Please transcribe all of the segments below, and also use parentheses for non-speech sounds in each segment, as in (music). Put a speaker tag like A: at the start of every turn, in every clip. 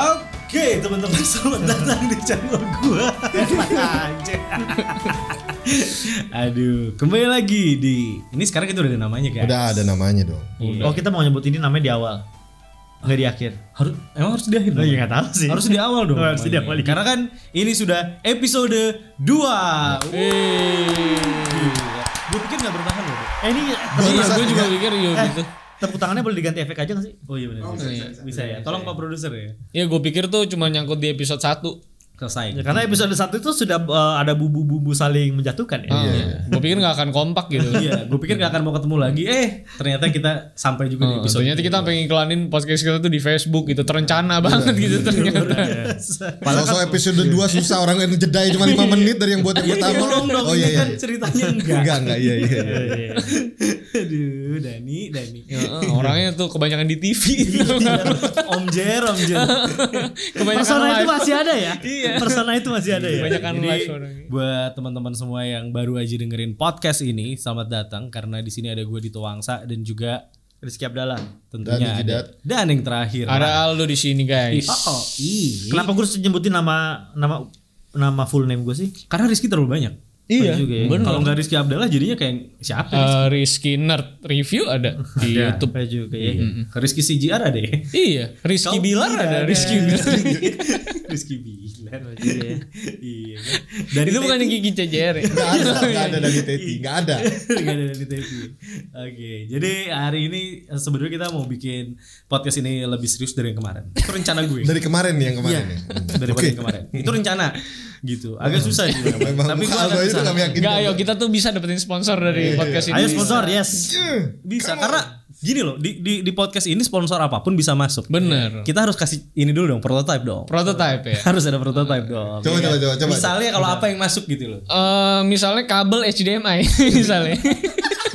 A: Oke
B: (laughs)
A: teman-teman selamat datang di channel gua Anjir. (laughs) Aduh kembali lagi di Ini sekarang kita udah ada namanya Iya. kan?
C: Udah ada namanya dong.
D: Iya.
B: Oh kita mau nyebut ini namanya di awal Nggak di akhir
A: Harus, Emang harus di akhir
B: Oh
A: dong?
B: iya nggak tahu sih Oh,
A: Harus di awal dong
B: Harus di
A: namanya.
B: awal
A: Karena kan ini sudah episode 2 Gue pikir gak bertahan loh Bro.
B: Eh ini
C: Baru-
B: tepuk,
C: Barusan
D: gue Iya, juga
C: enggak.
D: mikir iya
B: eh,
D: gitu.
B: tepuk tangannya boleh diganti efek aja nggak sih?
A: Oh iya benar
C: Oh,
A: bisa,
C: bisa,
A: bisa,
C: bisa,
A: bisa ya Tolong Pak Produser ya
D: Ya gue pikir tuh cuma nyangkut di episode 1
A: Selesai
B: Ya, karena episode satu itu sudah eh, ada bumbu-bumbu saling menjatuhkan
D: Hmm.
B: ya.
D: Gue Ah, iya. pikir gak akan kompak gitu.
A: Iya, gue
B: (laughs)
A: pikir gak akan mau ketemu lagi. Eh, ternyata kita sampai juga di
D: Oh,
A: episode.
D: ternyata kita pengen iklanin podcast kita tuh di Facebook gitu
B: Iya.
D: terencana banget gitu ternyata.
C: Soal episode 2 susah orang yang jedanya cuma 5 menit dari yang buat yang pertama.
A: Tolong dong,
C: Oh
A: ini
C: iya iya.
A: kan ceritanya enggak.
C: Enggak enggak iya iya. iya.
A: (laughs) Aduh, Dani, Dani.
D: Ya, eh, orangnya tuh kebanyakan di gitu. TV.
A: Om Jer, Om Jer.
D: kebanyakan
B: Iya. Persona itu
D: live.
B: masih ada ya? Persona itu masih ada ya.
D: Kebanyakan
A: Jadi,
D: live orangnya.
A: buat teman-teman semua yang baru aja dengerin podcast ini, selamat datang karena di sini ada gue Dito Wangsa dan juga
B: Rizky Abdallah.
A: tentunya
C: Dan
A: ada
C: Jidat.
A: dan yang terakhir.
D: Ada Aldo di sini guys.
A: Oh, oh, ih.
B: Kenapa gue harus nyebutin nama nama nama full name gue sih?
A: Karena Rizky terlalu banyak.
D: Iya,
A: Juga ya.
D: bener.
A: Kalau nggak Rizky Abdallah jadinya kayak siapa?
D: Eh, Rizky Nerd review ada di YouTube.
B: Kayak juga ya.
A: Iya. Rizky CGR ada ya?
D: Iya, Rizky
A: Kau
D: Bilar
A: tidak
D: ada,
A: ada.
D: Rizky
A: (laughs)
D: Bilar.
B: (laughs)
A: Rizky Bilar
B: Iya.
A: Iya
D: Dari itu bukan yang Kiki CJR. ya?
C: Enggak ada enggak ada dari Teti, enggak ada.
A: (laughs) Gak ada dari TV Oke Jadi hari ini eh, sebenarnya kita mau bikin podcast ini lebih serius dari yang kemarin Itu rencana
C: (laughs)
A: gue
C: Dari kemarin nih yang kemarin. ya.
A: Dari yang kemarin Itu rencana Gitu Agak susah sih
C: Iya. (laughs) Memang
A: Tapi gue
C: Aldo
A: agak
C: itu
A: susah
C: kami yakin.
D: Enggak, ayo kita tuh bisa dapetin sponsor dari podcast ini.
B: Iya, Ayo sponsor, yes.
A: Bisa karena Gini loh di, di, di podcast ini sponsor apapun bisa masuk
D: Bener.
A: Kita harus kasih ini dulu dong Prototype dong
D: Prototype ya.
A: (laughs) Harus ada prototype dong
C: Coba,
A: ya kan?
C: coba, coba, coba.
A: Misalnya kalau apa yang masuk gitu loh
D: Eh, misalnya kabel HDMI (laughs) misalnya.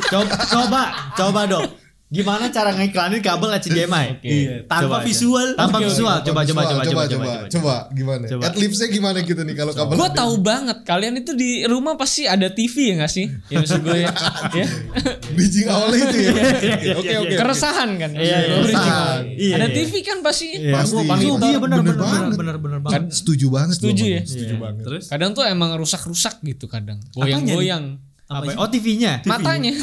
B: Coba coba, coba dong. Gimana cara ngiklanin kabel HDMI?
A: Iya, tanpa
B: Coba aja.
A: visual.
B: Tanpa
A: Oke, oke.
B: visual. Coba coba coba coba coba.
C: coba gimana? At lipsnya gimana kita nih kalau kabel?
D: gue tahu banget kalian itu di rumah pasti ada TV ya nggak sih? Ya maksud
B: (laughs)
D: gue ya.
B: Iya,
D: ya.
C: Bridging awalnya itu ya. Oke oke.
D: Keresahan kan.
B: Iya, iya,
C: keresahan.
B: Iya,
D: ada
B: iya.
D: TV kan pasti.
C: Pasti.
B: Oh, iya benar Iya.
C: Bener
B: benar benar
C: banget.
B: benar benar banget.
C: Kan setuju banget.
D: Setuju
C: gua,
D: ya?
C: Bang. Setuju banget.
A: Terus
D: Kadang tuh emang rusak-rusak gitu kadang. Goyang-goyang.
B: Apa? Oh TV-nya.
D: Matanya.
B: (laughs)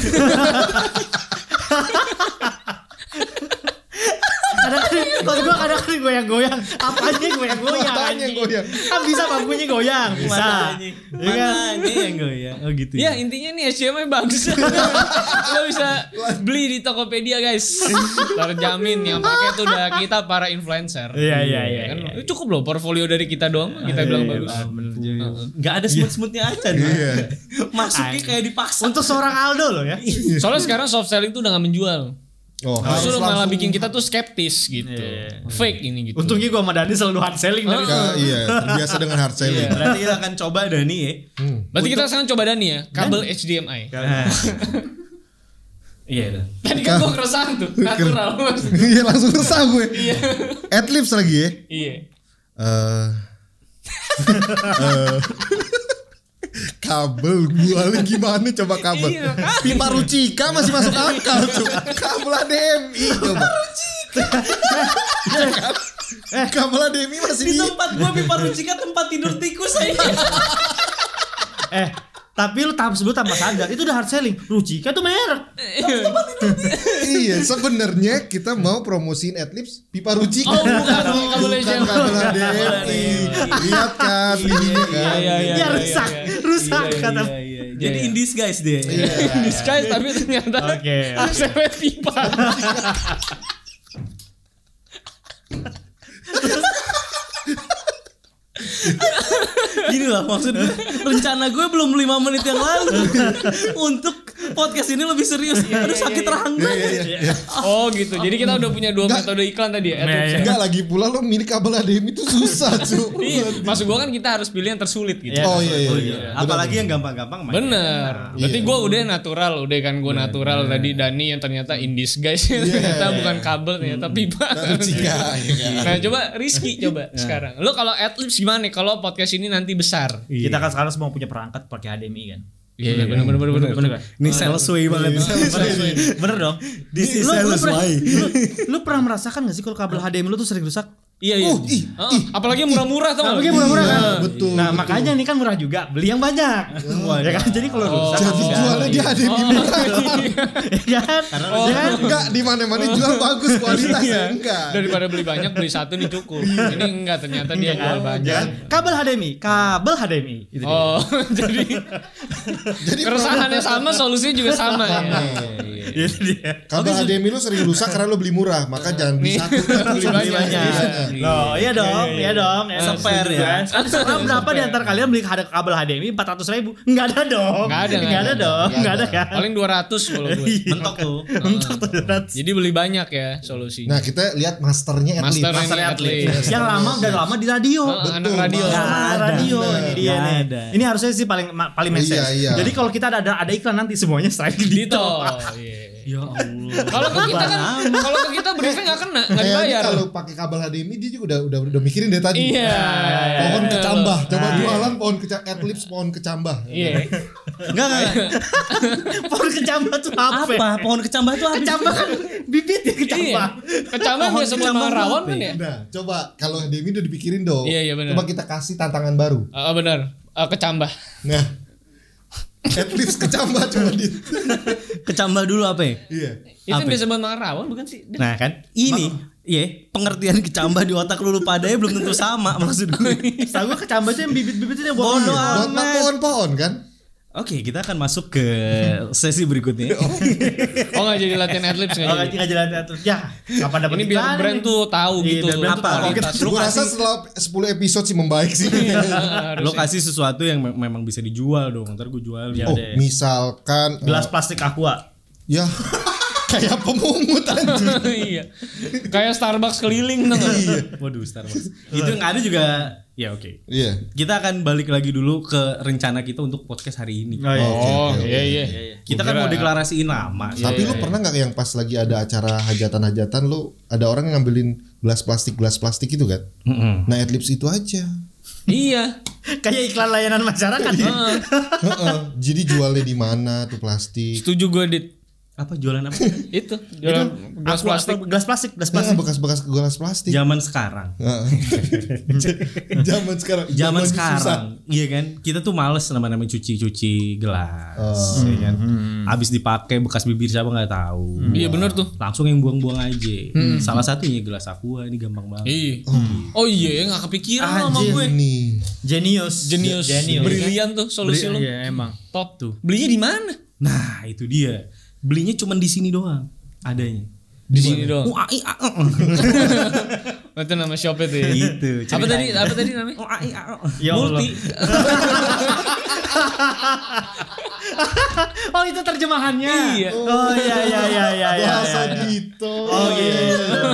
B: Kadang-kadang kalau gua kadang-kadang goyang-goyang. Apanya goyang-goyang?
C: Matanya
B: Oh, iya, anjing?
C: goyang.
B: Kan bisa bangkunya goyang, bisa.
A: Matanya
B: Iya kan? Iya.
A: Matanya yang goyang Oh gitu
D: ya intinya nih HDMI
B: (laughs)
D: bagus. Lo bisa beli di Tokopedia guys. Terjamin yang pakai tuh udah kita para influencer.
B: Iya iya iya.
D: kan cukup loh portfolio dari kita doang kita bilang bagus
B: Iya,
A: Gak ada smooth-smoothnya Acan
C: Iya.
A: Masuknya kayak dipaksa
B: Untuk seorang Aldo loh ya.
D: soalnya sekarang soft selling tuh udah gak menjual
C: Oh, harus
D: justru malah
C: langsung
D: bikin kita tuh skeptis gitu
B: Iya.
D: fake ini gitu
B: Untungnya gua sama Dani selalu hard selling tapi
C: ke iya, terbiasa dengan hard selling.
D: Iya.
A: Berarti kita akan coba Dani ya
D: berarti kita sekarang coba Dani ya kabel HDMI
A: Nah. Iya dah.
D: tadi kan gua keresahan tuh natural maksudnya.
C: (laughs) Iya langsung resah gue. At lips lagi ya.
D: iya
C: eh (laughs) eh, kabel gua lagi gimana coba kabel
D: Iya,
C: pipa rucika masih masuk akal tuh kabel HDMI coba (laughs) eh kabel HDMI masih
A: Di
C: di
A: tempat gua pipa rucika tempat tidur tikus
D: Iya,
B: Iya,
A: aja
B: eh tapi lu tahap sebelum tambah sadar itu udah hard selling. Rucika tuh merek.
C: iya sebenarnya kita mau promosiin adlibs pipa rucika
D: Oh, bukan,
C: Oh,
D: kabel
C: bukan
D: HDMI.
C: kabel HDMI lihat kan linknya kan
D: iya iya
B: Ya rusak, rusak kata.
A: iya. Jadi in disguise dia
D: in disguise tapi ternyata
B: iya, Oke,
D: (laughs)
B: oke.
D: cewek pipa
A: Gini lah maksud gue Rencana gue belum 5 menit yang lalu (laughs) Untuk podcast ini lebih serius Aduh sakit rahang
C: Iya,
A: banget
C: iya, iya.
D: oh gitu jadi kita udah punya dua
C: Nggak.
D: metode iklan tadi ya
B: Nah, iya.
C: Enggak lagi pula lo milih kabel HDMI itu susah
D: Iya,
C: cuy.
D: maksud gua kan kita harus pilih yang tersulit gitu.
B: Iya.
C: Oh iya iya. iya.
A: Apalagi yang gampang-gampang main.
D: Bener. Berarti
C: Iya.
D: gue udah natural, udah kan gue natural tadi Dani yang ternyata indis guys,
C: Iya,
D: ternyata bukan kabel ternyata pipa.
C: Benar. Rucika. Hmm. Nah, iya kan?
D: Nah coba Rizky coba sekarang. Lo kalau adlibs gimana nih? Kalau podcast ini nanti besar.
B: Kita kan sekarang semua punya perangkat pakai HDMI kan.
D: Iya bener bener bener bener.
B: Bener kan?
A: Ini salesway banget.
B: Bener dong.
A: This is
B: lu, lu,
A: sales
C: Iya,
B: pernah,
A: way.
B: lu, lu pernah merasakan gak sih kalau kabel HDMI lu tuh sering rusak?
D: Iya iya.
C: Uh, ih,
D: Heeh.
C: ih,
D: apalagi murah-murah tau nggak?
B: Apalagi murah-murah
C: Iya,
B: kan?
C: betul,
B: Nah,
C: betul. Iya.
B: makanya ini kan murah juga, beli yang banyak. Wah, ya kan? Jadi kalau
D: Oh.
B: rusak
C: Jadi
B: ya.
C: jualnya dia ada yang
D: Oh,
C: dibilang.
D: iya.
B: Ya kan?
D: Oh.
B: Ya kan?
C: Enggak di mana-mana jual bagus kualitasnya enggak.
D: (laughs) Daripada beli banyak beli satu nih cukup.
C: Iya.
D: Ini enggak ternyata dia
B: Iya kan? Iya,
D: jual banyak.
B: Kabel HDMI, kabel HDMI. Itu dia.
D: Oh, (laughs) jadi
C: Jadi
D: keresahannya sama, solusinya juga sama ya.
B: Itu dia.
C: kabel HDMI lu sering rusak karena lu beli murah, maka jangan beli
D: Nih,
C: satu.
D: beli banyak.
B: Loh, iya dong, iya dong. Ya,
A: Seper
B: setuju
A: ya.
B: kan? Sekarang berapa di antara kalian beli ada kabel HDMI 400 ribu? Enggak ada dong.
D: Nggak ada, nggak
B: Nggak ada
D: ada.
B: dong. Enggak ada kan?
D: Paling 200 kalau gue.
B: Iya.
A: mentok tuh.
B: Mentok tuh 200.
D: Jadi beli banyak ya solusinya.
C: Nah, kita lihat masternya atlet.
D: Masternya
C: Master
D: nih, atlet.
B: Yang lama udah lama di radio.
D: Oh, anak
C: betul,
D: radio.
C: Mas.
B: Nah,
A: ada.
B: radio
A: Nggak
B: ini
A: ada.
B: dia nih.
A: Nggak ada.
B: Ini harusnya sih paling ma- paling message.
C: Iya, iya.
B: Jadi kalau kita ada ada iklan nanti semuanya strike di
D: Dito.
B: (laughs) top.
D: Iya.
A: Ya Allah.
D: Kalau ke kita kan, kalau ke kita briefnya nggak kena, nggak
C: Kayaknya
D: dibayar.
C: Iya, kalau pakai kabel HDMI dia juga udah udah, udah mikirin dari tadi.
D: Iya.
C: Pohon kecambah, coba jualan pohon kecambah, atlet pohon kecambah.
D: Iya.
A: Enggak enggak.
B: Pohon kecambah tuh apa?
A: Apa? Pohon kecambah tuh apa?
B: Kecambah kan bibit ya
D: Iya.
B: kecambah.
D: Kecambah
A: Pohon
D: dia sebut
A: kecambah
D: rawan
A: apa
D: kan
A: ya?
D: ya?
C: Nah, coba kalau HDMI udah dipikirin dong.
D: Iya, iya, benar.
C: Coba kita kasih tantangan baru.
D: Ah benar. Ah, kecambah.
C: Nah, atlet kecambah coba di.
A: Kecambah dulu apa ya?
C: Iya.
D: Itu
A: Apa?
D: yang biasa buat makan rawon bukan sih?
B: Nah, kan
A: Ini, iya, pengertian kecambah di otak lu padanya belum tentu sama maksud gue. (laughs)
B: Setahu gue kecambah tuh yang bibit-bibit itu yang buat
A: Bodoh
B: minum.
C: Buat mah pohon-pohon kan?
A: Oke, kita akan masuk ke sesi berikutnya.
D: Oh nggak jadi latihan adlibs nggak
B: Oh,
D: jadi.
B: nggak jalan tuh. Ya, kapan dapat
D: Ini biar
B: iklan
D: brand
B: ini?
D: tuh tahu
B: Iya,
D: gitu
B: biar brand
A: tuh tahu.
D: kualitas.
A: Lu
D: (laughs)
C: Gue rasa
A: kasih-
C: setelah 10 episode sih membaik sih.
D: Iya. ya.
A: Lo kasih sesuatu yang me- memang bisa dijual dong. Ntar gue jual. gitu
B: Ya
C: Oh,
B: deh.
C: misalkan
B: gelas plastik aqua.
C: eh, ya (laughs) kayak pemungut anjing.
D: (laughs) Iya. Kayak Starbucks keliling tuh nggak?
A: (laughs) Waduh, Starbucks. Itu yang ada juga. Ya oke.
C: Iya.
A: Kita akan balik lagi dulu ke rencana kita untuk podcast hari ini.
B: iya.
D: Oh iya iya.
A: Kita kan mau deklarasiin nama.
C: Tapi lu pernah nggak yang pas lagi ada acara hajatan-hajatan lu ada orang yang ngambilin gelas plastik gelas plastik itu kan? Nah, Adlibs itu aja.
D: Iya.
B: Kayak iklan layanan masyarakat.
D: Heeh.
C: Heeh. Jadi jualnya di mana tuh plastik?
D: Setuju gue dit.
A: Apa jualan apa?
D: Itu dalam gelas
B: Aqua,
D: plastik.
B: apa, gelas plastik, gelas
C: Nah,
B: plastik.
C: bekas-bekas gelas plastik. (laughs)
A: Zaman sekarang.
C: Heeh. (laughs) Zaman sekarang.
A: Zaman
C: susah.
A: sekarang, iya kan? Kita tuh males nama-nama cuci-cuci gelas, ya kan? Abis dipakai bekas bibir siapa nggak tahu.
D: Iya benar tuh.
A: Langsung yang buang-buang aja. Salah satunya gelas aqua ini gampang banget.
D: Iya. Oh iya nggak kepikiran sama
B: Anjir.
D: gue.
C: Nih.
B: Genius.
D: Genius.
B: Genius.
D: Brilian tuh solusi lu.
B: Iya, emang.
D: Top tuh. Belinya di mana?
A: Nah itu dia. Belinya cuma di sini doang adanya. Oh,
D: Di Uh. sini doang.
A: UAI AE.
D: Itu nama shopnya tuh. ya.
A: Gitu,
D: Apa
A: ceritanya.
D: tadi? Apa tadi namanya?
A: UAI AE.
B: Ya Allah.
D: (laughs) Multi.
B: Oh, itu terjemahannya.
D: Iya.
B: Oh, iya iya iya iya iya.
C: Bahasa
B: iya.
C: Dito.
B: Oh gitu.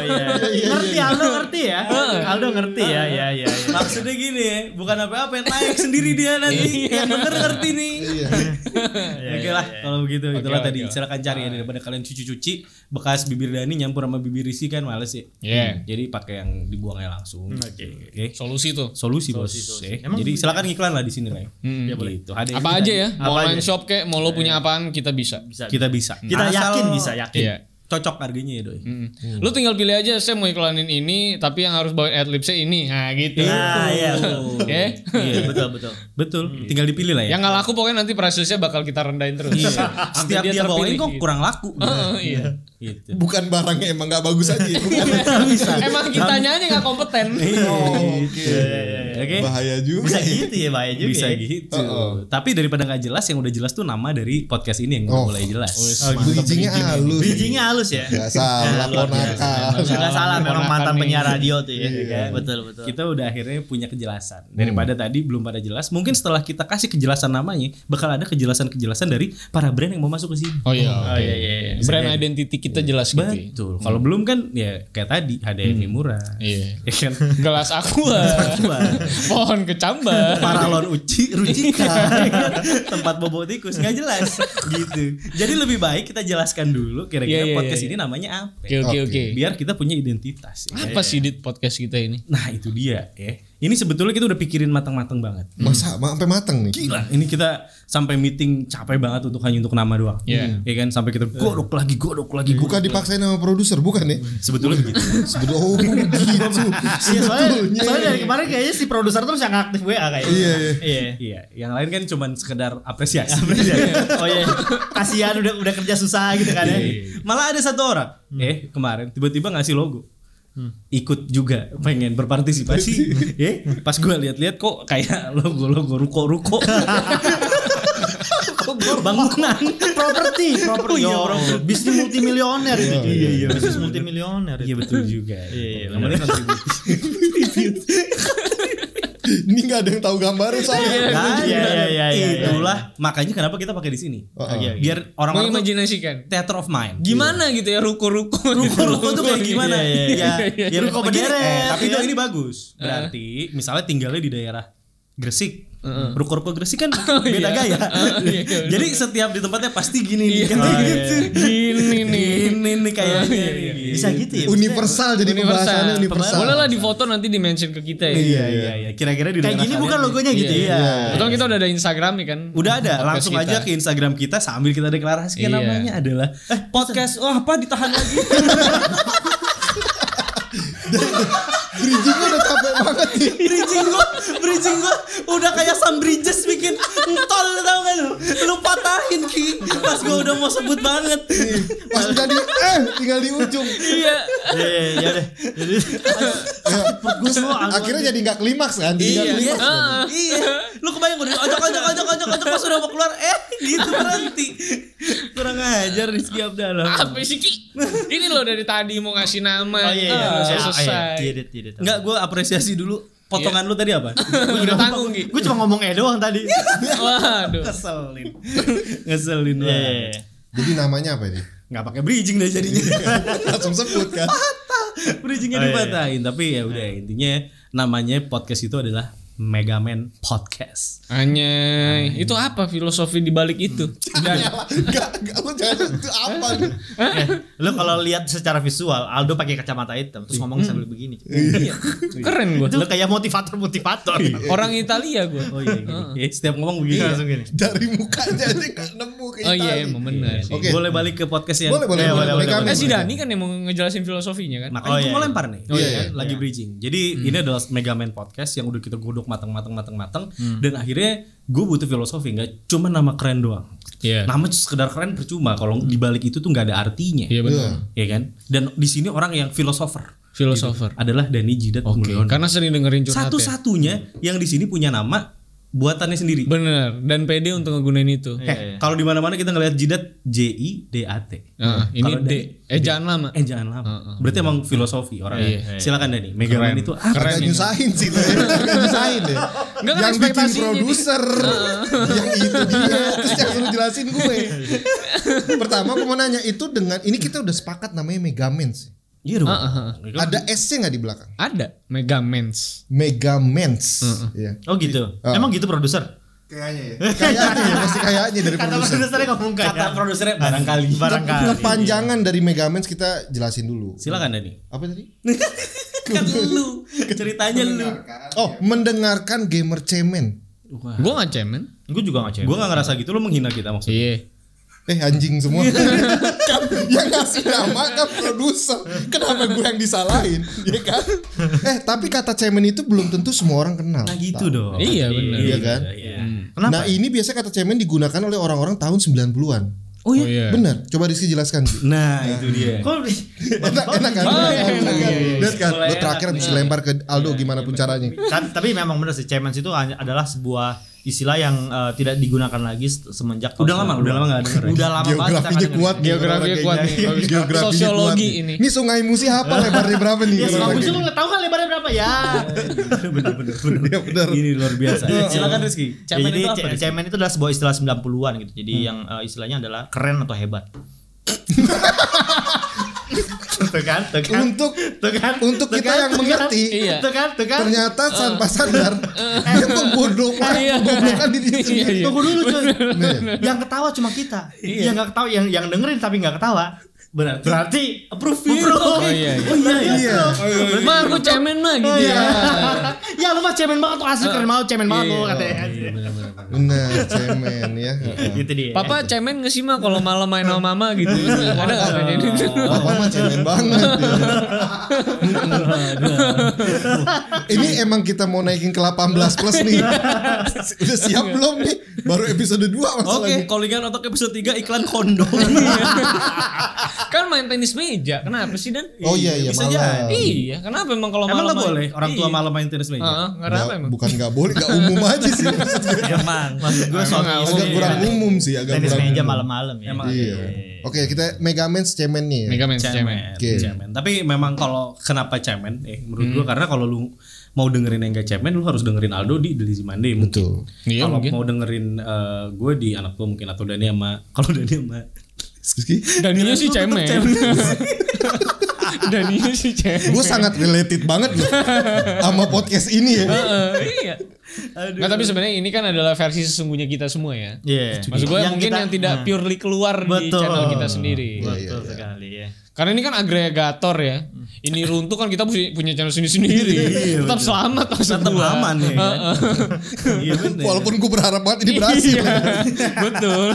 B: iya. Ngerti Aldo ngerti ya? Aldo ngerti ya. Iya iya iya.
A: Maksudnya gini ya, bukan apa-apa yang naik sendiri dia nanti. yang bener ngerti nih. (laughs)
C: Iya.
A: Oke lah, kalau begitu itulah
D: iya, oke,
A: tadi.
D: oke.
A: Silakan cari ya daripada kalian cuci-cuci bekas bibir Dani nyampur sama bibir Risi kan males ya.
D: Iya.
A: Jadi pakai yang dibuangnya langsung. Hmm, Oke.
D: Solusi tuh.
A: Solusi, bos. Eh, Jadi silakan iklan lah di sini lah. ya. Ya boleh. Gitu. Ada
D: Hmm, Apa aja ya? Mau
B: Apa
D: online shop kek, mau lo punya apaan kita bisa.
B: Bisa.
A: Kita bisa.
B: Kita
A: Asal
B: yakin bisa yakin.
D: Iya.
A: Cocok harganya ya, Doi.
D: Mm. Lu tinggal pilih aja saya mau iklanin ini tapi yang harus bawain adlibsnya ini. Nah, gitu.
A: Ah,
B: Nah, iya.
D: Oke.
A: Iya,
B: Betul betul.
A: betul. Tinggal dipilih lah ya.
D: Hmm. Yang nggak laku pokoknya nanti prosesnya bakal kita rendahin terus. (laughs)
A: Iya.
D: Sampai
A: Setiap dia, bawain kok
D: terpilih.
A: kurang laku.
D: Heeh, iya.
A: Gitu.
C: Bukan barangnya emang nggak bagus aja. Bukan.
D: Emang kitanya aja nggak kompeten.
C: Oh, Oke.
A: Iya, Oke.
C: Bahaya juga.
B: Bisa gitu ya, bahaya juga.
A: Bisa
B: ya.
A: gitu.
C: Uh-uh.
A: Tapi daripada nggak jelas yang udah jelas tuh nama dari podcast ini yang udah
C: Oh.
A: mulai jelas.
C: Bridgingnya halus.
B: Bijinya halus ya.
C: Gak salah ponaka.
B: Enggak salah memang mantan
D: Ponakan nih.
B: penyiar radio tuh ya. Betul betul.
A: Kita udah akhirnya punya kejelasan.
C: Hmm.
A: Daripada tadi belum pada jelas, mungkin setelah kita kasih kejelasan namanya, bakal ada kejelasan-kejelasan dari para brand yang mau masuk ke sini.
D: Oh iya. oke.
B: iya, iya, iya.
D: Brand identity kita jelas gitu. ya.
A: Betul. Kalau
C: Hmm.
A: belum kan ya kayak tadi HDMI murah.
D: Iya.
A: Ya kan? (laughs)
D: Gelas aqua. Pohon kecambah.
A: Paralon uci, rucika, (laughs) tempat bobo tikus nggak jelas gitu. Jadi lebih baik kita jelaskan dulu kira-kira
D: Iya, iya,
A: podcast
D: iya,
A: ini namanya apa.
D: Oke oke oke.
A: Biar kita punya identitas. ya.
D: Apa sih dit podcast kita ini?
A: Nah itu dia ya. Ini sebetulnya kita udah pikirin matang-matang banget.
C: Masa ma- sampai mateng nih.
A: Gila, ini kita sampai meeting capek banget untuk hanya untuk nama doang.
D: Iya.
A: Ya kan sampai kita godok lagi, godok lagi, godok.
C: Bukan dipaksain sama produser, bukan ya?
A: Sebetulnya begitu.
C: Sebetulnya oh gitu.
B: Iya soalnya,
C: Sebetulnya.
B: soalnya dari kemarin kayaknya si produser terus yang aktif WA kayaknya.
C: Iya, iya.
A: Iya, yang lain kan cuman sekedar apresiasi. (laughs)
B: Oh iya. Kasihan udah udah kerja susah gitu kan ya.
A: Iya, Malah ada satu orang,
B: Hmm.
A: eh kemarin tiba-tiba ngasih logo. Ikut juga pengen
B: (laughs)
A: berpartisipasi. eh, pas gua lihat-lihat kok kayak logo-logo ruko-ruko. bangunan.
B: Kan Properti,
A: Oh
B: properti.
A: iya,
B: Yo,
A: properti.
B: Bisnis multimilioner ini. Iya, iya. Bisnis multimilioner.
A: Iya betul juga.
B: Iya, iya,
A: Yang penting kontribusi.
C: Ini nggak ada yang tahu gambaran soalnya.
B: Iya, iya, iya, iya, iya.
A: Itulah makanya kenapa kita pakai di sini.
C: Oh, oh.
A: Biar orang-orang tuh
D: Mengimajinasikan.
A: theater of mind.
D: Gimana gitu ya ruko-ruko.
A: Ruko-ruko tuh kayak gimana?
B: Iya, iya, iya.
A: Ya, ya,
B: Ruko
A: begini.
B: berderet,
A: Eh, Tapi
B: ya.
A: dong ini bagus. Berarti misalnya tinggalnya di daerah Gresik. Ruko-ruko Gresik kan beda
D: iya.
A: gaya.
D: iya, iya,
A: Jadi setiap di tempatnya pasti gini nih.
D: Oh, iya.
A: gitu.
D: Gini nih.
A: Gini nih kayaknya. nih.
B: Bisa gitu ya.
C: Universal jadi pembahasannya
D: Universal.
C: universal.
D: Boleh lah di foto nanti di mention ke kita ya.
A: Iya iya iya. Kira-kira di
B: Kayak
A: daerah
B: gini bukan
A: kalian.
B: logonya gitu
D: Iya.
B: ya.
D: Betul kita udah ada Instagram nih kan.
A: Udah ada,
D: Podcast
A: langsung aja
D: kita.
A: ke Instagram kita sambil kita deklarasikan
D: Iya.
A: namanya adalah eh, podcast. Wah, apa ditahan lagi?
C: Bridgingnya udah capek banget nih.
A: bridging gua, bridging gua udah kayak Sam Bridges bikin entol tau gak lu? Lu patahin ki. Pas gua udah mau sebut banget.
C: Pas udah di eh tinggal di ujung.
D: Iya.
B: Iya, iya, iya deh. Jadi
C: Ya.
B: gue semua
C: Akhirnya jadi nggak klimaks kan? Jadi nggak
D: Iya.
C: klimaks.
D: Heeh.
A: iya. Lu kebayang gua ojok ojok ojok ojok ojok pas udah mau keluar eh gitu berhenti. Kurang ajar Rizky Abdallah.
D: Apa sih Ki? Ini loh dari tadi mau ngasih nama.
B: Oh iya, iya.
D: Ah,
B: Iya,
D: Selesai.
B: Iya, iya, iya.
A: Enggak, gua apresiasi dulu potongan lu tadi apa?
D: Gua udah tanggung Ki.
B: Gue cuma ngomong eh doang tadi.
D: Iya. Waduh.
A: Ngeselin. Ngeselin
B: Iya,
A: banget.
B: iya, iya.
C: Jadi namanya
D: (laughs)
C: apa ini?
A: Nggak pakai bridging deh jadinya.
C: Langsung sebut kan.
A: (laughs) Bridgingnya
B: Oh, iya.
A: dipatahin tapi ya udah intinya namanya podcast itu adalah Megaman Podcast.
D: Anjay, itu apa filosofi di balik itu?
C: Enggak, enggak lu jangan itu apa nih?
B: Lo Eh, kalau lihat secara visual Aldo pakai kacamata hitam terus ngomong sambil begini.
D: Keren gue.
B: Lo kayak motivator-motivator.
A: Iya.
B: Iya.
D: Orang Italia gue.
A: Oh (laughs) iya, gini. Eh, setiap ngomong begini. ya?
B: Langsung gitu. gini.
C: Dari mukanya aja nggak nemu ke
D: Oh iya,
C: Itali.
D: emang benar sih.
C: Oke.
A: Boleh balik ke podcast yang
C: Boleh, boleh,
B: Iya,
C: boleh,
B: boleh,
C: boleh.
B: boleh,
C: Kami
D: Eh si
C: boleh.
D: Dani kan yang mau ngejelasin filosofinya kan.
A: Makanya
B: Oh,
A: gua
B: iya,
A: mau
B: iya.
A: lempar nih.
C: Oh, iya,
A: Ya kan?
C: iya.
A: Lagi bridging. Jadi ini adalah Megaman Podcast yang udah kita godok matang-matang matang-matang dan akhirnya gue butuh filosofi nggak cuma nama keren doang.
D: Iya.
A: Nama sekedar keren percuma kalau dibalik itu tuh nggak ada artinya.
C: Iya.
D: Iya benar.
A: Ya kan? Dan di sini orang yang filosofer
D: Filosofer.
A: adalah Dani Jidat
D: Oke,
A: Mulyono.
D: karena sering dengerin curhat ya.
A: Satu-satunya yang di sini punya nama buatannya sendiri.
D: Bener, dan pede untuk ngegunain itu.
A: Eh, Kalau di mana-mana kita ngelihat jidat J I D A T.
D: Heeh, ini
A: Kalau
D: D. Eh jangan lama.
A: Eh jangan lama. Berarti emang filosofi orang. ya?
D: Iya,
A: Silakan Dani. Megaman itu apa?
C: Agak nyusahin sih
D: (laughs)
C: lo ya. Agak nyusahin deh.
D: Enggak
C: yang
D: kan
C: bikin
D: ekspektasinya
C: produser yang itu
D: (laughs)
C: dia terus yang suruh jelasin gue pertama gue mau nanya itu dengan ini kita udah sepakat namanya Megaman sih
A: Iya dong.
C: ada S nya nggak di belakang
D: Ada Megamens.
C: Megamans Iya.
B: Oh gitu. Emang gitu produser.
C: kayaknya ya kayaknya ya, pasti kayaknya dari
B: Kata
C: produser
B: produsernya ngomong kayak.
A: Kata produsernya barangkali.
B: barangkali.
C: kepanjangan dari Megamans kita jelasin dulu
A: Silakan Dani.
C: apa tadi
A: kan lu ceritanya lu.
C: oh mendengarkan gamer cemen
D: Gue nggak cemen.
B: Gue juga nggak cewek.
A: Gue gak ngerasa gitu lu menghina kita maksudnya.
D: Iya.
C: Eh anjing semua kan yang ngasih nama kan produser kenapa gue yang disalahin ya kan eh tapi kata cemen itu belum tentu semua orang kenal
A: Nah gitu dong.
D: Iya bener.
C: Iya kan?
A: Iya.
C: nah ini biasa kata cemen digunakan oleh orang-orang tahun 90-an
A: Oh iya.
D: iya.
C: bener coba Rizky jelaskan Ci.
A: Nah, itu dia.
B: Kok
C: enak enak kan Enak kan? lihat kan lo terakhir habis lempar ke Aldo gimana pun caranya
B: Ta- Kan, tapi memang benar sih cemen itu hanya- adalah sebuah istilah yang eh, tidak digunakan lagi se- semenjak tahun
A: Udah lama,
B: 90-an.
A: udah lama nggak denger ya?
B: udah lama banget kita nggak
C: geografinya
B: denger.
C: kuat nih orang-orang kayaknya.
D: Geografinya kuat nih. Bagus.
C: geografinya
D: Sosiologi
C: kuat
D: ini.
C: nih. ini sungai musi apa lebarnya berapa nih
B: ya
C: Orang
B: sama
C: kayak
B: lu nggak tahu kan lebarnya berapa ya
A: Bener-bener. bener.
C: Iya, bener.
A: Ini luar biasa. Silakan Rizky. Cemen
B: jadi
A: itu apa? Hmm.
B: ce-
A: Rizky?
B: cemen itu adalah sebuah istilah 90-an gitu jadi yang eh, istilahnya adalah keren atau
C: (laughs)
B: hebat tuh kan tuh kan
C: Untuk-
B: tuh kan
C: untuk
B: tuh
C: kita
B: kan,
C: yang
B: tuh kan,
C: mengerti.
D: Iya.
B: tuh kan tuh kan Eh.
C: ternyata tanpa sadar dia pembodokan
D: Iya.
C: pembodokan diri
D: Iya,
C: sendiri
D: iya.
B: tunggu dulu cuy
C: Bener.
B: yang ketawa cuma kita yang nggak ketawa yang yang dengerin tapi nggak ketawa
A: Berarti
B: berarti
A: approve.
B: Approve.
D: Oh iya.
A: Oh
D: iya.
A: iya iya.
C: Iya.
D: Ma aku cemen mah
B: Oh,
D: gitu ya.
B: Iya. (laughs) ya lu mah cemen banget tuh asli keren banget cemen banget lu katanya.
C: Benar, cemen ya.
B: Gitu dia.
D: Papa cemen gak sih ma kalau malam main sama mama gitu? Ada nggak kejadian itu?
C: Papa mah cemen banget. ya. Ini emang kita mau naikin ke 18 plus nih. Udah siap belum nih? Baru episode 2 masalahnya.
A: Oke, (laughs) callingan otak episode 3 iklan kondom.
D: Kan main tenis meja. Kenapa sih dan?
C: Oh iya iya
A: Bisa
C: malam.
D: Iya. Kenapa emang kalau
A: (laughs) Emang Iya.
D: malam?
A: nggak boleh orang tua
D: malam.
A: malam main tenis meja?
D: Heeh, nggak apa
C: Nggak-
D: emang.
C: bukan nggak boleh, nggak umum aja sih.
B: (laughs)
C: maksudnya.
A: Emang, maksud gue suami
D: nggak
A: istri.
C: Agak kurang umum sih, agak
B: Tenis
C: kurang
B: meja
C: umum.
B: malam-malam ya.
A: Emang
C: Iya. Oke, kita Megaman cemen nih ya.
D: Mega Man cemen.
A: cemen,
C: Oke.
A: cemen. Tapi memang kalau kenapa cemen? Eh, menurut gua karena kalau lu mau dengerin yang gak cemen, lu harus dengerin Aldo di Delizy Monday mungkin.
C: Betul.
D: Iya,
A: kalau
D: mungkin.
A: mau dengerin eh, gue di anak gue mungkin atau Dani sama kalau Dani sama
C: Rizky,
D: Daninya sih cemen.
A: (laughs) cemen.
D: Daninya sih cemen.
C: gue sangat related banget loh sama podcast ini ya.
D: Heeh, iya. Nggak, tapi sebenarnya ini kan adalah versi sesungguhnya kita semua ya.
A: Iya.
D: Maksud gue
B: Yang
D: mungkin
B: kita-
D: yang tidak Iya,
B: Nah.
D: purely keluar di
A: Betul.
D: channel kita sendiri.
B: Betul sekali ya.
D: Karena ini kan agregator ya. Ini runtuh kan kita punya punya channel sendiri-sendiri. Tetap selamat maksud
A: Tetap
D: gua.
A: aman ya. kan? Iya benar.
C: Walaupun gue berharap banget ini berhasil.
D: (laughs) Iya, betul.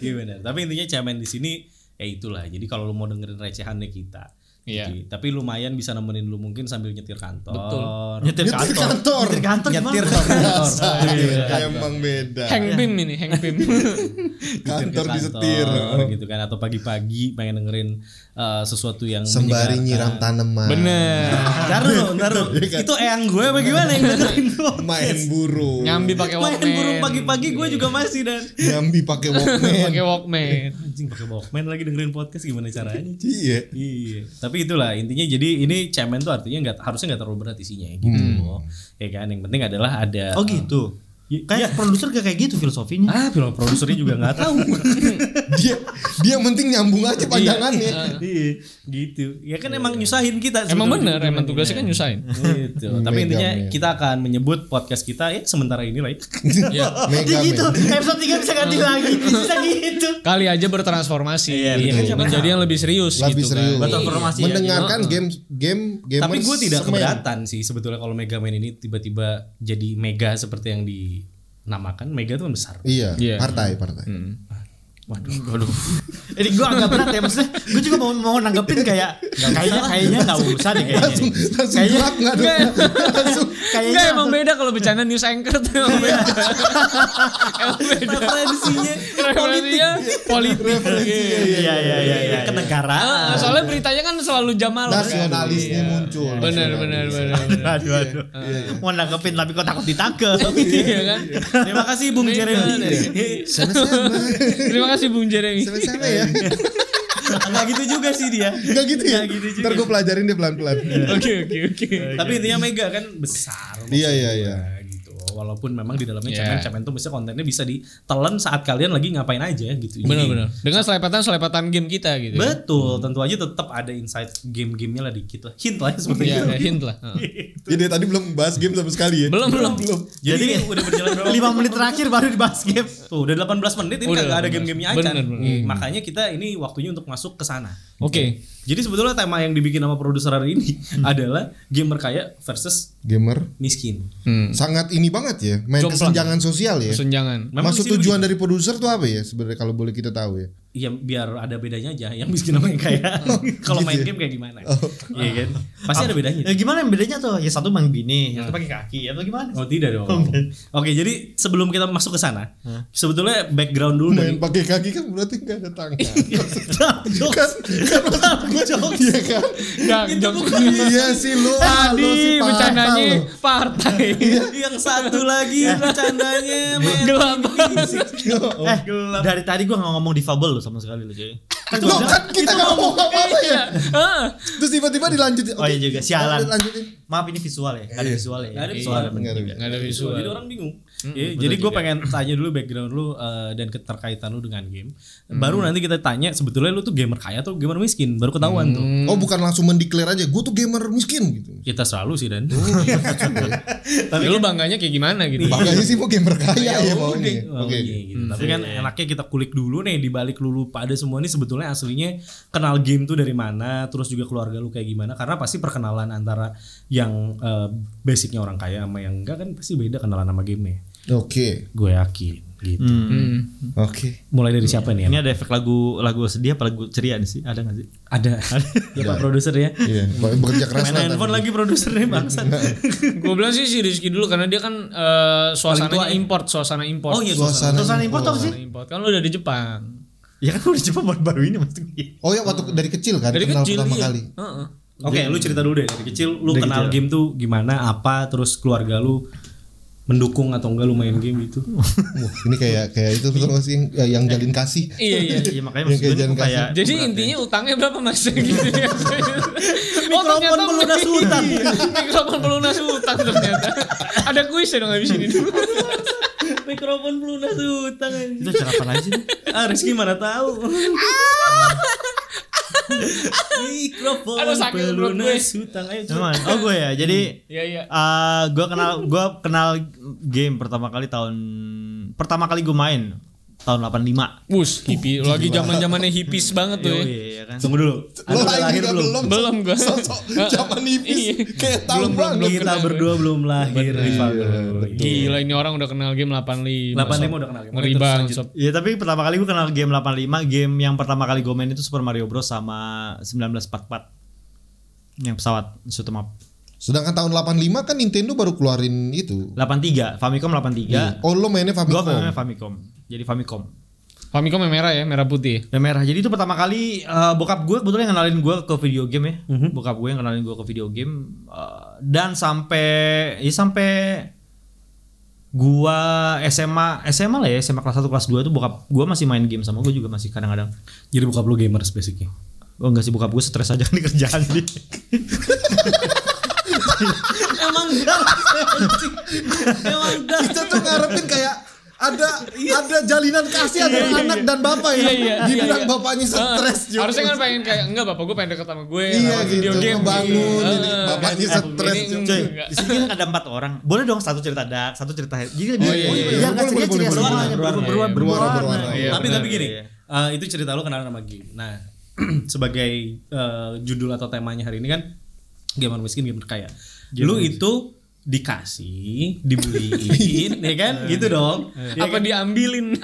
A: Iya benar. Tapi intinya cemen di sini ya itulah. Jadi kalau lu mau dengerin recehannya kita.
D: Iya.
A: Jadi, tapi lumayan bisa nemenin lu mungkin sambil nyetir kantor.
D: Betul.
B: Nyetir
C: Nyetir
B: kantor.
C: kantor.
B: Nyetir kantor
A: Nyetir
B: gimana?
A: kantor. Nyetir
C: Iya,
A: kantor.
C: Emang beda.
D: Hang Bim ini, Hang Bim.
C: Kantor
A: Nyetir ke
C: disetir.
A: kantor, gitu kan atau pagi-pagi pengen dengerin eh, sesuatu yang
C: Sembari
A: menyegarkan.
C: nyiram Iya kan? tanaman.
D: Bener.
A: Ntar lu, ntar lu. Itu eyang gue apa gimana yang dengerin lu?
C: Main burung.
D: Nyambi pakai
A: Main
D: Walkman.
A: burung pagi-pagi gue juga masih dan
C: Nyambi pakai Walkman.
D: pakai Walkman.
A: anjing pakai Walkman lagi dengerin podcast gimana caranya?
C: Iya.
A: Iya, tapi itulah intinya jadi ini cemen tuh artinya nggak harusnya nggak terlalu berat isinya gitu loh. Ya kan yang penting adalah ada
B: Oh
A: Ya,
B: gitu.
A: ya.
B: Kayak produser gak kayak gitu filosofinya.
A: ah film produsernya juga nggak tahu.
C: Dia dia yang penting nyambung aja panjangannya.
A: (laughs) Iya, gitu. Ya kan emang nyusahin kita.
D: Emang
A: sebetulnya.
D: bener, emang
A: Iya.
D: tugasnya kan nyusahin.
A: Gitu. Tapi
C: Mega
A: intinya
C: Man.
A: kita akan menyebut podcast kita ya sementara ini lah. ya.
B: Dia
C: Megaman.
B: gitu. Episode 3 bisa ganti lagi. Bisa gitu.
D: Kali aja bertransformasi
A: Iya,
D: gitu.
A: betul.
D: menjadi yang lebih serius
C: Lebih
D: gitu
C: serius.
D: kan.
B: Betul, formasi ya,
C: Mendengarkan game game gamers.
A: Tapi gue tidak
C: semen.
A: keberatan sih sebetulnya kalau Mega Man ini tiba-tiba jadi mega seperti yang dinamakan. Mega itu kan besar.
C: Iya,
D: Iya.
C: partai partai.
A: Waduh, waduh.
B: Ini gue agak berat ya maksudnya. Gue juga mau mau nanggepin kayak kayaknya kayaknya nggak usah deh kayaknya.
C: Langsung (laughs) langsung
B: Kayaknya-
C: gelap nggak ada. Langsung
B: Kayaknya
D: Enggak emang beda kalau bercanda news anchor tuh emang beda. emang beda.
A: Referensinya
D: Referensinya politik.
C: referensinya
B: Iya iya iya iya. iya.
D: Ah,
B: Kenegaraan.
D: soalnya beritanya kan selalu Jamal.
C: Nah, nasionalisnya muncul.
D: Bener bener bener.
B: Aduh aduh. Mau nanggepin tapi kok takut (laughs) ditangkep.
D: Iya kan.
A: Terima kasih Bung
D: Mega
A: Jeremy.
D: deh. (laughs)
C: Sama-sama.
D: Terima kasih Bung Jeremy.
C: Sama-sama ya.
A: (laughs) Enggak gitu juga sih dia.
C: Enggak gitu ya.
A: Nggak gitu juga.
C: Ntar gue pelajarin deh pelan-pelan.
D: Oke oke oke.
A: Tapi intinya Mega kan besar. maksud
C: Iya, iya,
A: gua,
C: iya.
A: Gitu. Walaupun memang di dalamnya
D: Iya.
A: cemen-cemen tuh bisa kontennya bisa ditelan saat kalian lagi ngapain aja gitu. Jadi,
D: Bener bener. Dengan selepatan selepatan game kita gitu. ya.
A: Betul, tentu aja tetap ada insight game-gamenya lah dikit lah. Hint lah ya seperti
D: Iya
A: itu.
D: ada hint lah. Heeh.
C: Jadi dia tadi belum bahas game sama sekali ya.
D: Belum belum.
A: (laughs) Jadi,
D: Iya.
A: ini udah berjalan berapa?
C: (laughs)
B: 5 menit terakhir baru dibahas game.
A: Tuh, udah 18 menit ini
D: Udah
A: kagak ada
D: 18.
A: game-gamenya aja.
D: Bener, bener. Hmm.
A: Makanya kita ini waktunya untuk masuk ke sana.
D: Oke.
A: Jadi sebetulnya tema yang dibikin sama produser hari ini
D: Hmm.
A: adalah gamer kaya versus
C: Gamer
A: miskin.
D: Hmm.
C: sangat ini banget ya, main
D: Jomplang.
C: kesenjangan sosial ya.
D: Kesenjangan.
A: Memang
C: Maksud
A: di sini
C: tujuan dari produser tuh apa ya sebenarnya kalau boleh kita tahu ya?
A: ya biar ada bedanya aja yang miskin sama yang kaya (laughs) kalau main game kayak gimana iya kan pasti ada bedanya
B: Ya gimana yang bedanya tuh? Ya satu main bini, yang satu pakai kaki atau gimana?
A: oh tidak dong oke jadi sebelum kita masuk ke sana sebetulnya background dulu dari
C: Main pakai kaki kan berarti nggak ada tangan. (laughs)
B: Jokes. Jokes.
C: Iya kan?
D: Gak
C: Iya sih lu. ah, lu
D: Tadi
C: sih patah
D: bercandanya
C: lu.
D: partai.
A: (laughs) yang satu lagi bercandanya men.
D: Gelap.
B: Eh, dari tadi gua nggak ngomong difabel lo sama sekali lo jadi.
C: Lu kan kita nggak ngomong apa-apa ya.
D: Heeh.
A: Ah,
C: Terus tiba-tiba dilanjutin.
B: Oh iya juga sialan.
C: Lanjutin.
B: Maaf ini visual ya, nggak ada visual ya.
A: Nggak ada
B: Iya,
A: visual.
B: bener Hmm,
C: Nggak ada
B: juga.
D: Gak ada
A: jadi
D: visual.
A: orang bingung Ya, jadi gue pengen tanya dulu background lu eh, dan keterkaitan lu dengan game.
B: Hmm.
A: Baru nanti kita tanya sebetulnya lu tuh gamer kaya atau gamer miskin. Baru ketahuan
B: Hmm.
A: tuh.
C: Oh bukan langsung mendeklar aja, gue tuh gamer miskin gitu.
A: Kita selalu sih dan.
B: Oh, iya,
A: (laughs)
D: Tapi Ya
A: kan-
D: lu bangganya kayak gimana
A: Iya.
D: gitu?
C: Makanya sih mau gamer kaya ya
A: Oke,
C: maunya. Oke.
A: gitu. Tapi kan enaknya kita kulik dulu nih di balik lulu pada semua ini sebetulnya aslinya kenal game tuh dari mana, terus juga keluarga lu kayak gimana karena pasti perkenalan antara yang eh, basicnya orang kaya sama yang enggak kan pasti beda kenalan sama game ya.
C: Oke.
A: Gue yakin gitu.
D: Hmm.
C: Oke.
A: Mulai dari siapa nih?
B: Ini ada efek lagu lagu sedih apa lagu ceria nih sih? Ada nggak sih?
A: Ada. Ya Pak produser ya.
C: Iya, bekerja keras
A: Main
C: lah.
A: handphone lagi produsernya bangsa.
D: Gue bilang sih si Rizky dulu karena dia kan eh, suasananya import, suasana
A: ya? Oh
D: import.
A: iya, gua-
C: Suasana. Oh.
B: Terus import tau sih?
D: Suasana import. Kan lu udah di Jepang.
B: Ya kan udah Jepang baru-baru ini maksudnya.
C: Oh ya waktu dari kecil kan
D: Dari
C: kenal
D: kecil
C: pertama
D: iya.
C: kali.
D: Heeh.
A: Oke, lu cerita dulu deh dari kecil lu kenal game tuh gimana, apa, terus keluarga lu mendukung atau enggak lu main game gitu.
C: Wah, ini kayak kayak itu betul nggak sih yang, ya, yang jalin kasih.
D: Iya iya.
A: (laughs)
B: Iya makanya
C: Yang
B: maksud gue
C: kayak
B: tuh
C: jangan
B: kayak
D: Jadi intinya utangnya berapa mas? (laughs) gitu ya. oh,
A: ya. Mikrofon pelunas
D: hutang. (laughs) Mikrofon pelunas hutang ternyata. Ada kuisnya dong habis ini
A: (laughs)
D: dulu.
A: Mikrofon pelunas utang
B: itu cerapan aja nih.
A: Ah, Rizky mana tahu. Mikrofon
D: Aduh, sakit perut gue.
A: pelunas utang ayo coba.
B: Cuman, oh gue ya. Jadi
D: Iya iya.
B: eh gue kenal gue kenal game pertama kali tahun pertama kali gue main tahun 85.
D: Bus hippie lagi zaman zamannya hippies banget tuh. ya.
B: Yoi, ya kan.
A: Tunggu dulu.
C: Lo
A: Anda udah
C: lahir
A: lahir
C: juga
A: belum?
C: belum?
D: Belum gua.
C: Sosok zaman
D: Iya.
C: nipis kayak tahun
D: Belum, belum, belum.
C: banget.
A: Kita
D: kenal gue.
A: berdua belum lahir, Rivaldo.
D: Gila ini orang udah kenal game 85.
A: 85 udah kenal game.
D: Ngeri
A: Oke, terus
D: banget.
A: lanjut.
D: sob.
B: Ya tapi pertama kali gue kenal game 85 Game yang pertama kali gue main itu Super Mario Bros sama 1944 Yang pesawat shoot 'em up
C: Sedangkan tahun 85 kan Nintendo baru keluarin itu.
B: 83 Famicom 83
C: Oh lo mainnya
B: Gue
C: Famicom.
B: Eh. mainnya Famicom Jadi Famicom
D: Famicom yang merah ya, merah putih.
B: Yang merah Jadi itu pertama kali eh, Bokap gue kebetulan yang kenalin gue ke video game ya Bokap gue yang kenalin gue ke video game Eh, Dan sampai Ya sampai gua SMA SMA lah ya SMA kelas 1 kelas 2 tuh bokap gua masih main game sama gua juga masih kadang-kadang
A: Jadi buka lu gamers basicnya.
B: Oh enggak sih bokap gue stres aja (laughs) di kerjaan dia.
A: Emang Emang
C: Kita tuh ngarepin kayak ada ada jalinan kasih antara anak dan bapak ya.
D: Iya, iya, iya,
C: Dibilang
D: iya.
C: bapaknya stres
D: Heeh.
C: juga.
D: Harusnya kan pengen kayak enggak bapak gue pengen deket sama gue.
C: Iya
D: sama
C: gitu, ngebangun,
D: Iya.
C: ini
D: Heeh.
C: bapaknya
D: Kan,
C: stres
D: ini
C: juga.
B: Cuy,
D: enggak.
B: di sini kan ada empat orang. Boleh dong satu cerita dark, satu cerita happy. Jadi
D: Oh, iya, iya,
C: iya.
B: yang
C: Boleh, boleh,
B: kasihnya cerita
C: boleh,
B: berwarna,
C: boleh,
B: berwarna,
D: boleh,
B: berwarna,
C: berwarna,
B: berwarna.
C: berwarna.
D: Iya,
A: tapi
D: benar,
A: tapi gini,
B: iya.
A: eh, itu cerita lo kenalan sama game. Nah, (clears throat) sebagai eh, judul atau temanya hari ini kan gamer miskin gamer kaya. lu itu dikasih,
D: (laughs)
A: dibeliin, ya kan? Gitu
D: Iya.
A: dong. Ya
D: Apa
A: kan?
D: (laughs) diambilin?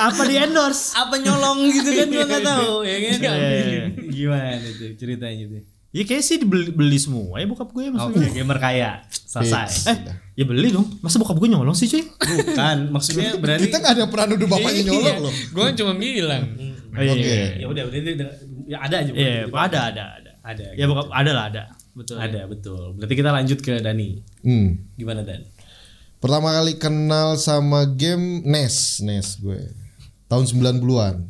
B: Apa di endorse?
A: apa nyolong gitu
B: (laughs)
A: kan gua nggak tahu, ya kan?
B: Iya, iya, iya.
A: (laughs) Gimana tuh ceritanya tuh?
B: Ya kayak sih dibeli beli semua ya bokap
A: Oke,
B: gue maksudnya.
A: gamer kaya. Selesai.
C: Fix.
B: Eh, ya beli dong. Masa bokap gue nyolong
C: (laughs)
B: sih, cuy?
A: Bukan, maksudnya berarti
C: Kita nggak ada peran nuduh bapaknya
D: Iya,
C: nyolong loh.
D: Gue kan cuma bilang. Oh, iya,
C: Oke.
A: ya udah berarti ya ada aja. bukan
B: Iya,
A: gitu.
B: ada ada ada.
A: Ada.
B: Ya bokap ada lah ada. Betul.
A: iya. Ada betul. Berarti kita lanjut ke Dani.
C: Hmm.
A: Gimana Dan?
C: Pertama kali kenal sama game E NES, NES gue. Tahun 90-an.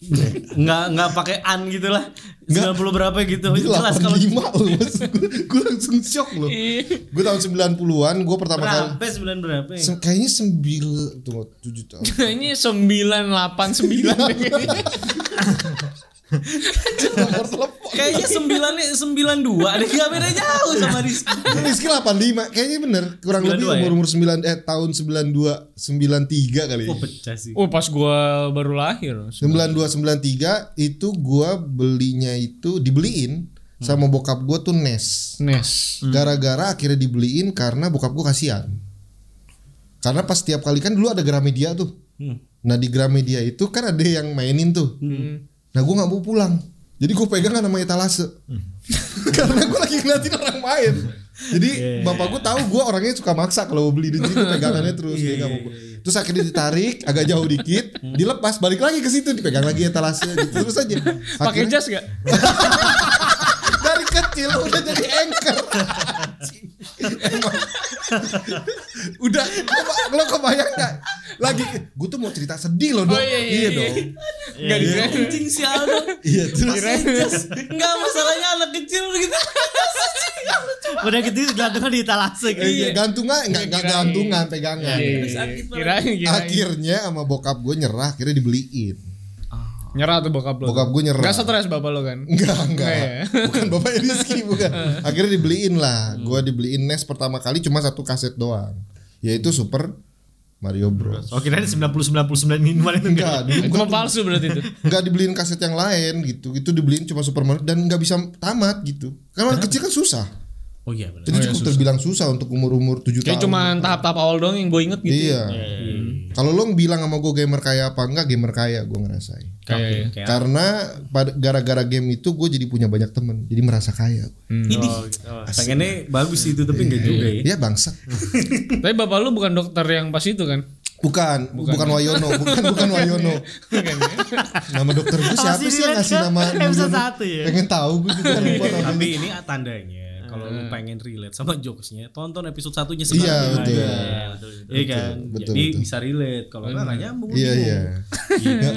A: (laughs) nggak nggak pakai an gitu lah 90 berapa gitu
D: Oh,
C: Ini
A: jelas kalau
D: (laughs)
C: 85 loh, maksud gue, gue langsung shock loh.
D: Iya.
C: Gue tahun 90-an, gue pertama kali
A: berapa sembilan berapa ya?
C: se- kayaknya sembil tunggu 7
D: (laughs)
C: tahun.
D: "Nah, Ini 989
C: Nomor telepon.
A: kayaknya sembilan sembilan dua ada nggak beda jauh sama Rizky
C: Rizky 85, kayaknya bener kurang
A: 92
C: lebih
A: ya?
C: umur umur 9 eh tahun 92 93 kali.
A: oh
C: ya.
A: pecah sih
D: Oh pas gua baru lahir
C: 92 93 itu gua belinya itu dibeliin sama bokap gua tuh NES.
D: Nes
C: Gara-gara akhirnya dibeliin karena bokap gue kasihan. Karena pas tiap kali kan dulu ada Gramedia tuh.
D: Hmm.
C: Nah di Gramedia itu kan ada yang mainin tuh. Nah gue nggak mau pulang. Jadi gue pegangan sama etalase.
D: Hmm.
C: (laughs) karena gue lagi ngeliatin orang main. Jadi
D: Iya,
C: bapak gue tahu gue orangnya suka maksa kalau mau beli jadi gua pegangannya terus
D: Iya,
C: dia nggak mau. Terus akhirnya ditarik agak jauh dikit,
D: Hmm.
C: dilepas balik lagi ke situ dipegang lagi etalase gitu terus aja.
D: Pakai
C: Akhirnya
D: jas gak?
C: dari kecil udah jadi anchor Emang. udah lo, lo kebayang gak lagi gue tuh mau cerita sedih loh dong
D: Oh, iya, iya, iya.
C: dong
D: Enggak dikira.
A: Anjing si Aldo.
C: Iya terus
A: Enggak masalahnya anak kecil gitu.
B: Udah gitu gantungnya di talase gitu.
D: Iya.
C: eh, gantungan nggak nggak
D: Kirain.
C: gantungan pegangan.
A: Sakit banget.
D: Iya, Kirain kirain.
C: Akhirnya sama bokap gue nyerah, akhirnya dibeliin.
D: Nyerah tuh bokap lo.
C: Bokap gue nyerah.
D: Enggak stres bapak lo kan.
C: Enggak, enggak.
D: Enggak ya?
C: Bukan bapak Rizky,
D: (laughs)
C: bukan. Akhirnya dibeliin lah. Gua dibeliin NES pertama kali cuma satu kaset doang. Yaitu Super Mario Bros.
B: Oh kirain 90 99 minimal itu enggak.
C: Enggak, dulu
D: Cuma
C: gua
D: palsu berarti itu.
C: enggak dibeliin kaset yang lain gitu. Itu dibeliin cuma Super Mario dan enggak bisa tamat gitu. Karena anak kecil kan susah.
A: Oh iya benar.
C: Jadi cukup terbilang susah untuk umur-umur 7 tahun.
D: Kayak cuma tahap-tahap awal doang yang gue inget gitu.
C: Iya. Kalau lo bilang sama gue gamer kaya apa enggak, gamer kaya gue ngerasain.
D: Kayak
A: Kayak
C: Karena pada- gara-gara game itu gue jadi punya banyak temen Jadi merasa kaya gue.
A: ini. Pengennya bagus itu tapi enggak juga ya.
C: Dia bangsat.
D: Tapi bapak lu bukan dokter yang pas itu kan?
C: Iya. Bukan, bukan, Wayono, bukan bukan Wayono.
D: Iya kan, ya?
C: nama dokter gue
B: Masih
C: siapa sih yang
B: relate
C: ngasih
B: kan?
C: nama
B: Episode
C: Wayono?
B: satu ya?
C: Pengen tahu gue juga lupa
A: (laughs)
C: namanya.
A: Tapi ini tandanya kalau lu pengen relate sama jokesnya, tonton episode satunya
C: Iya,
A: sekarang.
C: betul.
A: Iya kan?
C: betul,
A: Jadi
C: betul.
A: bisa relate. Kalau enggak enggak nyambung. gitu.
C: Iya
A: bingung.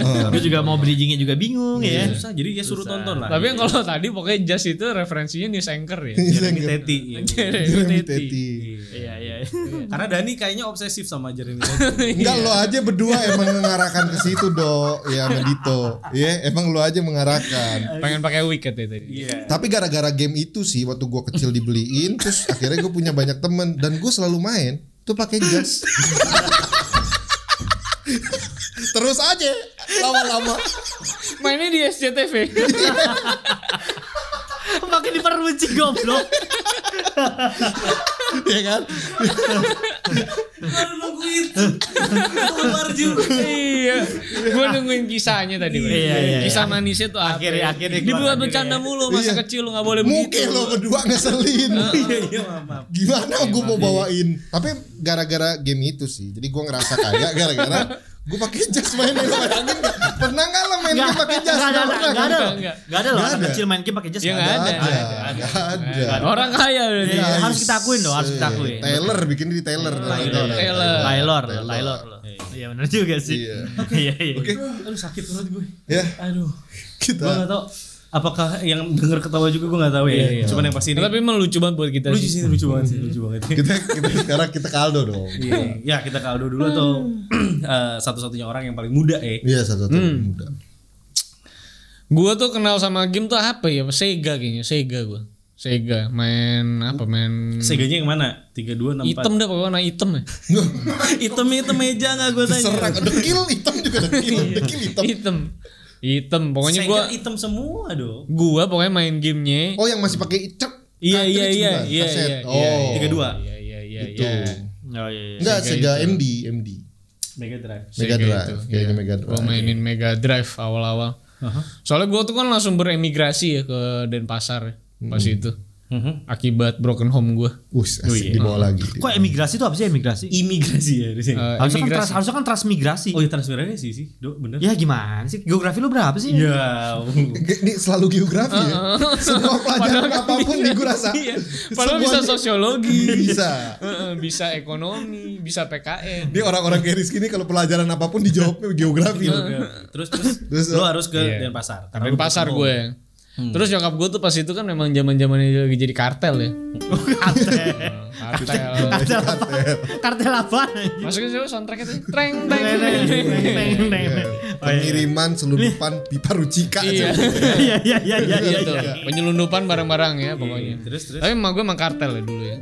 C: iya.
B: Gue juga mau bridgingnya juga bingung ya.
C: Iya.
A: Susah. Jadi ya suruh tonton lah.
D: Tapi yang kalau tadi pokoknya Jazz itu referensinya news anchor ya. (laughs)
A: Jeremy Teti. iya.
C: Jeremy
D: Jeremy Teti.
C: Teti.
B: Iya iya.
A: Karena Dani kayaknya obsesif sama Jeremy (laughs) Teti.
C: Enggak lo aja berdua emang mengarahkan ke situ do, ya sama Dito. Ya emang lo aja mengarahkan.
D: Pengen pakai wicket ya tadi.
A: Iya.
C: Tapi gara-gara game itu sih waktu gue kecil dibeliin, terus akhirnya gue punya banyak temen dan gue selalu main tuh pakai jas. terus aja lama-lama
D: Mainnya di SCTV.
B: Makin diperunci
C: (laughs)
B: goblok.
C: ya kan
A: Baru nunggu itu. Keluar juga.
D: iya. Gue nungguin kisahnya tadi. Bang.
B: Iya, iya,
D: Kisah manisnya tuh apa?
B: Akhirnya- akhirnya
D: Dibuat
B: keluar
D: bercanda
B: akhirnya.
D: mulu
C: Iya.
D: masa kecil lu nggak boleh
C: Mungkin
D: begitu.
C: lo berdua ngeselin
A: Iya iya maaf.
C: Gimana gue mau bawain Tapi gara-gara game itu sih Jadi gue ngerasa kaya gara-gara Gue pakai jas main game Bayangin nggak? Pernah gak lo main game Kan pakai jas?
B: Enggak ada,
C: Nggak pernah
B: enggak ada.
C: kan?
B: loh.
D: Enggak.
B: Enggak ada
C: Enggak
B: loh anak
C: ada. kan?
B: kecil main game pakai jas
D: Iya,
B: enggak ada.
D: enggak ada.
C: Nggak ada
D: (laughs) Orang kaya berarti.
B: Iya, harus kita akuin loh, harus kita akuin.
C: Iya, Taylor bikin di Taylor orang
D: Taylor.
C: Taylor.
D: Taylor.
B: Taylor, Taylor loh. Iya benar juga sih.
C: Iya.
B: (laughs) Iya iya.
C: Oke
A: Aduh sakit perut gue.
C: ya
A: Aduh. Gue
C: kita
A: nggak tahu apakah yang denger ketawa juga gue nggak tahu ya. Cuman yang pasti ini
D: Tapi emang lucu banget buat kita
A: lucu sih
D: sih.
A: lucu banget sih lucu banget.
C: kita kita sekarang kita kaldo dong.
A: (laughs) Iya. ya kita ke Aldo dulu atau (clears throat) eh, satu-satunya orang yang paling muda ya.
C: Iya satu-satu muda.
D: Gua tuh kenal sama game tuh apa ya? Sega kayaknya, Sega gua. Sega main apa main
A: Seganya yang mana? 32 64.
D: hitam dah pokoknya warna hitam ya.
A: Hitam hitam meja enggak gue tanya.
C: Serang dekil hitam juga dekil dekil hitam.
D: Hitam. Hitam. Pokoknya
A: Sega
D: gua
A: hitam semua dong.
D: gua pokoknya main gamenya
C: Oh yang masih pakai cek
D: Iya, iya,
C: cartridge
D: iya,
C: bukan?
D: iya,
C: Kaset.
D: iya,
C: Oh.
D: iya,
A: Tiga dua.
D: Iya iya iya
C: Itu.
B: Oh iya iya.
C: Enggak Sega MD MD.
A: Mega Drive.
C: Mega
D: Sega
C: Drive.
D: itu,
C: Kayaknya Mega
D: Gue
C: Drive.
D: mainin Mega Drive awal-awal. Soalnya gua tuh kan langsung beremigrasi ya ke Denpasar ya, pas itu.
A: Uh-huh.
D: Akibat broken home gua.
C: Us, asik dibawa
D: iya.
C: lagi.
B: Kok
C: (laughs)
B: emigrasi itu apa sih emigrasi?
A: Imigrasi ya di sini.
D: Eh,
B: Harusnya kan,
D: emigrasi.
B: trans, harusnya kan transmigrasi.
A: oh ya transferannya sih sih. Do bener.
B: Ya gimana sih? Geografi lu berapa sih?
A: Ya.
C: Ge- Ini selalu geografi
D: Ah,
C: ya.
D: (laughs)
C: Semua pelajaran apapun di gue rasa.
D: Iya. Padahal bisa
C: semuanya- Iya.
D: sosiologi,
C: Bisa.
D: Heeh, bisa ekonomi, bisa PKN.
C: Ini orang-orang kayak Rizky ini kalau pelajaran apapun dijawabnya (laughs) geografi.
D: Ah.
A: terus terus,
C: Terus,
A: lo harus ke
D: Iya.
A: Denpasar. Karena lu
D: Tapi pasar
A: ketemu.
D: gue. ya. Terus nyokap gue tuh pas itu kan memang zaman zamannya lagi jadi kartel ya. kartel. kartel.
B: Kartel apa? (laughs) Kartel apa?
D: Masukin siapa soundtracknya tuh? Treng treng. treng, treng.
C: Iya. Pengiriman selundupan pipa rucika
D: Iya.
C: aja.
B: Iya iya iya iya.
D: Gitu. Penyelundupan barang-barang ya pokoknya.
A: Terus terus. Hmm.
D: Tapi emak gue emang kartel ya dulu ya.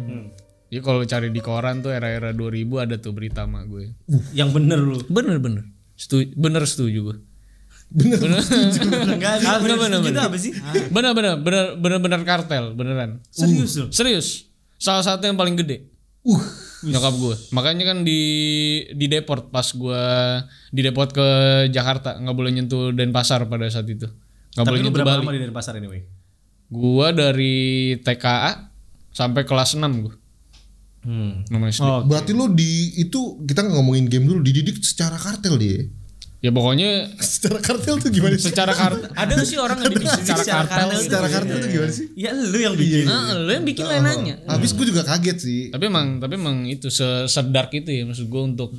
D: Jadi kalau cari di koran tuh era-era 2000 ada tuh berita emak ya. gue.
A: Yang bener lu.
D: Bener-bener. Setuju, bener setuju gue.
A: Enggak,
D: Ah, bener, bener,
A: Kita
D: bener.
A: apa sih?
D: (laughs) Bener bener bener bener bener kartel beneran.
A: Serius lu.
D: Serius. Salah satu yang paling gede. Uh. Nyokap gue. Makanya kan di di deport pas gue di deport ke Jakarta nggak boleh nyentuh Denpasar pada saat itu. Nggak boleh
A: Tapi lu
D: nyentuh
A: berapa
D: Bali.
A: lama di Denpasar anyway?
D: Gue dari TKA sampai kelas 6 gue.
A: Hmm.
D: Nomor SD.
C: Berarti lu di itu kita nggak ngomongin game dulu dididik secara kartel dia.
D: Ya pokoknya
C: Secara kartel tuh gimana sih?
D: secara
C: (laughs)
D: kartel
A: Ada nggak sih orang yang bikin
D: secara kartel. Iya.
C: Secara kartel tuh gimana sih?
A: Ya lu yang bikin.
D: Nah, lu yang bikin lah nanya.
C: Habis gue juga kaget sih.
D: Tapi emang tapi emang itu se sedark itu ya maksud gue untuk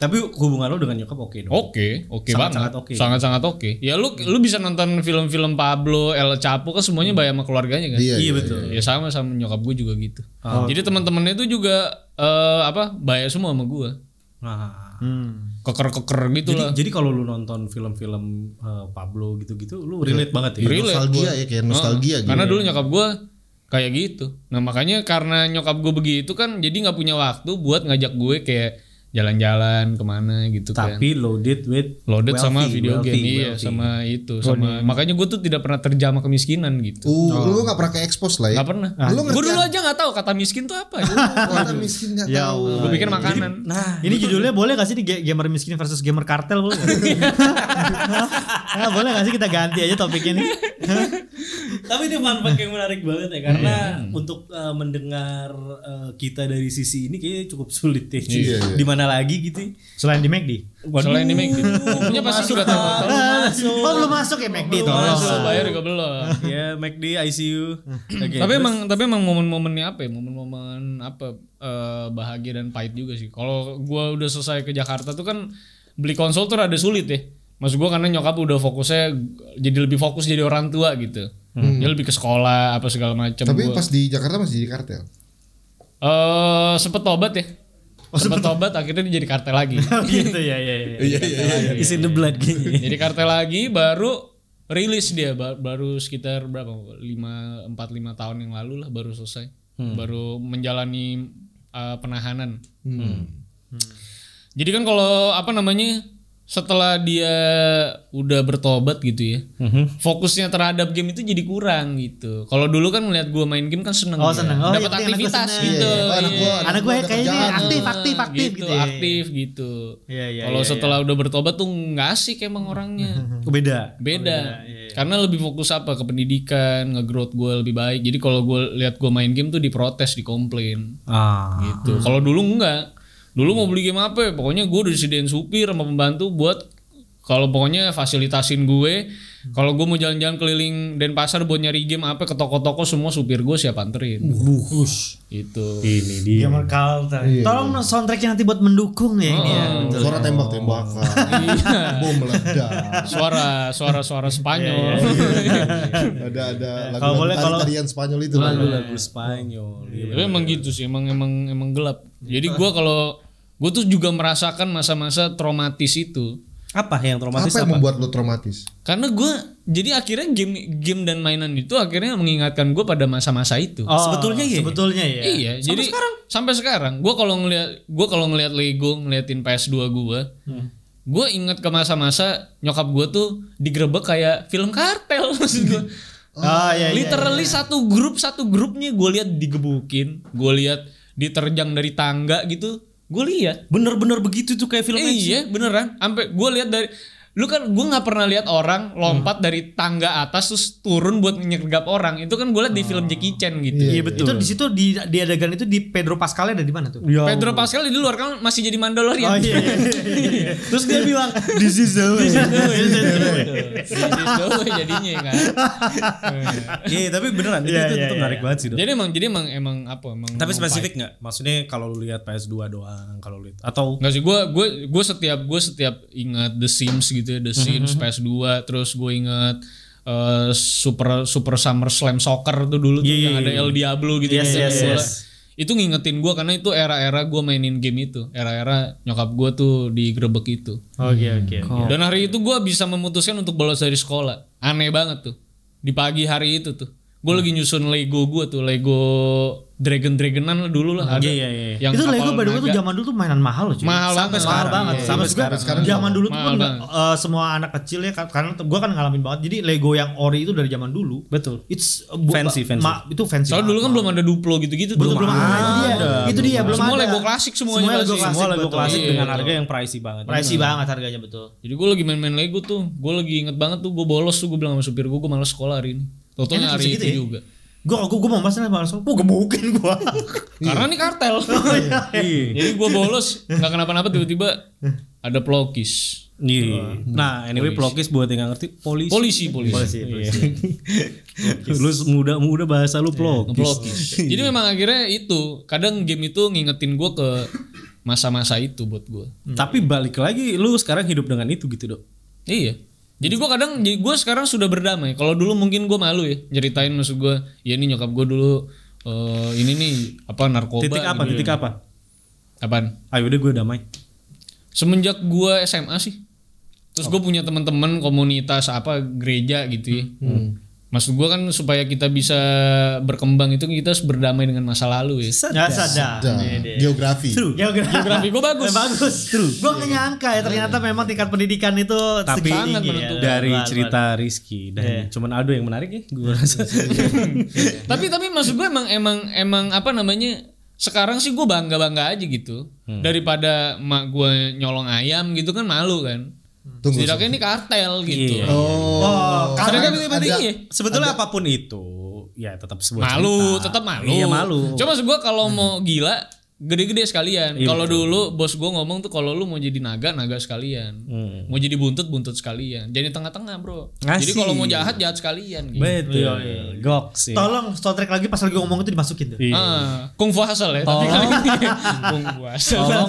A: Tapi hubungan lo dengan nyokap oke
D: Oh,
A: dong.
D: Oke, oke banget.
A: Sangat-sangat oke.
D: Sangat-sangat oke. Ya lu lu bisa nonton film-film Pablo, El Chapo kan semuanya bayar sama keluarganya kan?
A: iya
C: Iya, iya.
A: betul.
D: Ya sama sama nyokap gue juga gitu. Jadi teman-temannya itu juga eh, apa? Bayar semua sama gue.
A: Nah,
B: Hmm.
D: Keker-keker gitu
A: jadi
D: lah.
A: jadi kalau lu nonton film-film eh, Pablo gitu-gitu, lu relate banget ya.
D: Relate
C: nostalgia ya kayak nostalgia gitu.
D: Karena dulu nyokap gue kayak gitu. Nah makanya karena nyokap gue begitu kan, jadi nggak punya waktu buat ngajak gue kayak jalan-jalan kemana gitu kan.
A: Tapi loaded with
D: Loaded
A: wealthy,
D: sama video
A: wealthy,
D: game, iya
A: wealthy.
D: sama itu, sama makanya gue tuh tidak pernah terjama kemiskinan gitu.
C: Uh, lu gak pernah ke expose lah ya.
D: Gak pernah.
C: Lu ngerti
D: gue dulu aja nggak tahu kata miskin tuh apa.
C: Wah, kan miskin gak
B: Ya
C: tahu.
D: gue pikir makanan.
A: Nah,
B: Ini judulnya boleh gak sih di Ga- gamer miskin versus gamer kartel boleh nggak? Hah? Nah, boleh gak sih kita ganti aja topiknya nih?
A: (laughs) Tapi ini fun fact yang menarik banget ya karena untuk eh, mendengar eh, kita dari sisi ini kayaknya cukup sulit ya.
C: Iya, iya.
A: Di mana lagi gitu.
B: Selain di McD.
D: Soalnya ini make gitu. Punya pasti sudah tahu.
B: Oh belum masuk ya McD
A: Belum
B: tolong.
A: masuk.
D: Belum bayar juga belum.
A: ya, McD ICU. Oke.
D: tapi emang tapi emang momen-momennya apa ya? Momen-momen apa eh, bahagia dan pahit juga sih. Kalau gua udah selesai ke Jakarta tuh kan beli konsol tuh ada sulit ya. Maksud gua karena nyokap udah fokusnya jadi lebih fokus jadi orang tua gitu. Dia lebih ke sekolah apa segala macam.
C: Tapi
D: Gua-
C: pas di Jakarta masih di kartel.
D: eh sempet tobat ya. sempet tobat akhirnya dia jadi kartel lagi.
B: gitu ya ya ya.
C: Iya iya.
A: Is in the blood kayaknya.
D: jadi kartel lagi baru rilis dia ba- baru sekitar berapa lima empat lima tahun yang lalu lah baru selesai baru menjalani uh, penahanan jadi kan kalau apa namanya setelah dia udah bertobat gitu ya fokusnya terhadap game itu jadi kurang gitu kalau dulu kan melihat gua main game kan seneng
B: Oh,
D: ya.
B: seneng. Oh, iya,
D: dapat
B: penting anak gua
D: aktivitas
B: seneng.
D: gitu
C: Iya, iya. Oh, anak gua-
D: iya.
B: Anak gue
C: Ada
B: kayaknya
C: kerjaan.
B: aktif aktif aktif gitu. ya.
D: Hmm, aktif gitu
B: Iya, iya,
D: kalau
B: iya, Oh,
D: setelah udah bertobat tuh nggak asik emang
B: (laughs)
D: orangnya
A: Beda.
D: beda
B: iya,
D: karena lebih fokus apa ke pendidikan nge-growth gue lebih baik jadi kalau gue lihat gue main game tuh diprotes dikomplain
A: Ah.
D: gitu kalau dulu enggak dulu mau beli game apa ya, pokoknya gue udah disediain supir sama pembantu buat kalau pokoknya fasilitasin gue
B: Hmm.
D: kalau gue mau jalan-jalan keliling Denpasar buat nyari game apa ke toko-toko semua supir gue siap anterin
A: Buhus.
D: gitu
B: (laughs)
A: Ini dia.
B: Gamer kartel. Tolong soundtracknya nanti buat mendukung ya ini ya.
C: Hmm. Suara tembak-tembakan.
D: Iya.
C: Bom meledak.
D: suara suara suara (laughs) Spanyol iya.
C: Ada ada
B: Kalau
C: lagu
B: boleh, kalau-
C: tarian Spanyol itu.
A: Lagu-lagu Spanyol. Iya.
D: Tapi emang gitu sih, emang emang emang gelap. Jadi gua kalau gua tuh juga merasakan masa-masa traumatis itu.
A: Apa yang traumatis
C: Apa yang membuat lu traumatis?
D: Karena gua jadi akhirnya game game dan mainan itu akhirnya mengingatkan gua pada masa-masa itu.
B: Oh,
A: Sebetulnya iya.
B: Sebetulnya ya.
D: Iya, jadi sampai sekarang gua kalau ngeliat gua kalau ngeliat Lego ngeliatin PS2 gua, gua inget ke masa-masa nyokap gua tuh digerebek kayak film kartel maksud gua. (laughs)
B: Oh iya iya.
D: Literally satu grup satu grupnya gua lihat digebukin, gua lihat diterjang dari tangga gitu, gua lihat
A: Bener-bener begitu tuh kayak film
D: Eh, iya beneran. Sampai gue lihat dari lu kan gue nggak pernah lihat orang lompat dari tangga atas terus turun buat nyergap orang. Itu kan gue lihat di film Jackie Chan gitu.
B: Iya betul. Itu di situ di di adegan itu di Pedro Pascal ada di mana tuh? Oh, iya.
A: Ya.
D: Pedro Pascal di luar kan masih jadi Mandalorian. (laughs)
A: Terus dia bilang, "This is the way."
D: Jadi Zoe jadinya kan.
A: Iya, tapi beneran itu, itu, itu menarik banget sih. Dok.
D: Jadi emang jadi emang emang apa emang
A: Tapi spesifik nggak? Maksudnya kalau lu lihat PS2 doang, kalau lu lihat atau
D: Enggak sih, gue gue gue setiap gue setiap ingat The Sims gitu ya, The
B: Mhm,
D: Sims PS2, terus gue ingat eh, Super Super Summer Slam Soccer tuh dulu tuh yang ada El Diablo gitu
B: Iya, Yes,
D: ya.
B: yes,
D: bola.
B: yes.
D: Itu ngingetin gue karena itu era-era gue mainin game itu, era-era nyokap gue tuh digerebek itu.
B: Oke oke.
D: Dan hari itu gue bisa memutuskan untuk bolos dari sekolah. Aneh banget tuh. Di pagi hari itu tuh. Gue
B: Hmm.
D: lagi nyusun Lego gue tuh, Lego Dragon Dragonan dulu lah ada.
A: iya, iya.
D: Yang
B: Itu
D: kapal
B: Lego by the way
D: naga.
B: tuh zaman dulu tuh mainan mahal loh cuy.
D: mahal
A: Sampai
D: banget.
A: sekarang.
B: mahal banget
A: Iya,
B: sama
A: sampai
B: juga
C: sekarang.
B: zaman dulu tuh
D: Mahal
B: pun eh, semua anak kecil ya kar- karena gue kan ngalamin banget jadi Lego yang ori itu dari zaman dulu
A: Betul.
B: it's eh, bu-
A: Fancy, fancy.
B: ma- itu fancy
D: Soalnya dulu kan belum ada Duplo gitu-gitu
B: belum, belum ada.
A: ada.
B: Itu dia, itu dia belum
D: Semua
B: ada.
D: Lego klasik semuanya
B: Semua Lego
D: pasti.
B: klasik,
A: semua lagu
B: betul.
A: klasik
D: Iya,
A: dengan
D: betul.
A: harga yang pricey banget.
B: Pricey banget harganya betul.
D: Jadi gue lagi main-main Lego tuh, gue lagi inget banget tuh gue bolos tuh gue bilang sama supir gue gue malas sekolah hari ini. Totonya
B: Enak
D: hari
B: segitu
D: itu
B: ya?
D: juga.
B: Gue gue gue mau bahas nih bahas, gue gemukin gue.
D: Karena ini kartel.
B: Oh,
A: Iya.
D: Jadi gue bolos nggak kenapa-napa tiba-tiba ada pelokis.
A: Iya. Nah, anyway pelokis buat yang nggak ngerti polisi.
D: Polisi, polisi.
A: Iya. (laughs) lu muda muda bahasa lu pelokis.
D: Pelokis. Jadi memang akhirnya itu kadang game itu ngingetin gue ke masa-masa itu buat gue
A: Tapi balik lagi lu sekarang hidup dengan itu gitu, Dok.
D: Iya. Jadi gue kadang, gue sekarang sudah berdamai. Kalau dulu mungkin gue malu ya ceritain maksud gue. Ya ini nyokap gue dulu eh, ini nih apa narkoba.
A: Titik apa?
D: gitu.
A: Titik apa?
D: Apaan?
A: Ayo udah gue damai.
D: Semenjak gue SMA sih. Terus gue punya teman-teman komunitas apa gereja gitu ya. Maksud gue kan supaya kita bisa berkembang itu kita harus berdamai dengan masa lalu ya.
B: Nggak sadar.
C: Dah, geografi.
A: True.
D: Geografi gue (laughs) bagus.
B: (laughs) Bagus. True. Gue nggak nyangka ya ternyata memang tingkat pendidikan itu ya.
A: Tapi iya,
B: segini
D: sangat
B: tinggi
D: menentukan.
A: Dari
B: Luar, luar.
A: cerita Rizky dan cuman Aldo yang menarik ya, (laughs) gue rasa.
D: tapi tapi maksud gue emang emang emang apa namanya sekarang sih gue bangga bangga aja gitu daripada mak gue nyolong ayam gitu kan malu kan
C: Tunggu,
D: setidaknya ini kartel gitu
A: Iya.
C: Oh.
A: Karena
D: Sedangkan
A: kan
D: yang
A: ada-
D: penting iya.
A: sebetulnya apapun itu ya tetap sebuah
D: malu
A: cerita.
D: tetap malu
A: Iya malu.
D: cuma maksud gue kalau mau gila gede-gede sekalian
A: Iya,
D: kalau dulu bos gue ngomong tuh kalau lu mau jadi naga naga sekalian
A: Hmm.
D: mau jadi buntut buntut sekalian jadi tengah-tengah bro jadi
A: Asik.
D: kalau mau jahat jahat sekalian gitu.
A: betul. Gok sih.
B: Tolong soundtrack lagi pas lagi ngomong itu dimasukin tuh.
D: (laughs)
A: Iya.
D: Ah, kung fu hasil ya tapi kali ini kung fu hasil
A: Tolong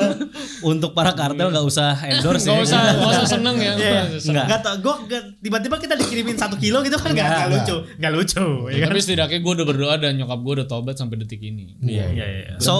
A: untuk para kartel nggak usah endorse
D: Gak
A: ya.
D: usah, gak usah seneng ya.
B: Iya.
A: Enggak.
B: Enggak tau, gue tiba-tiba kita dikirimin satu kilo gitu kan nggak nggak lucu, nggak lucu. ya kan?
D: Tapi setidaknya gue udah berdoa dan nyokap gue udah tobat sampai detik ini.
A: Iya iya iya. So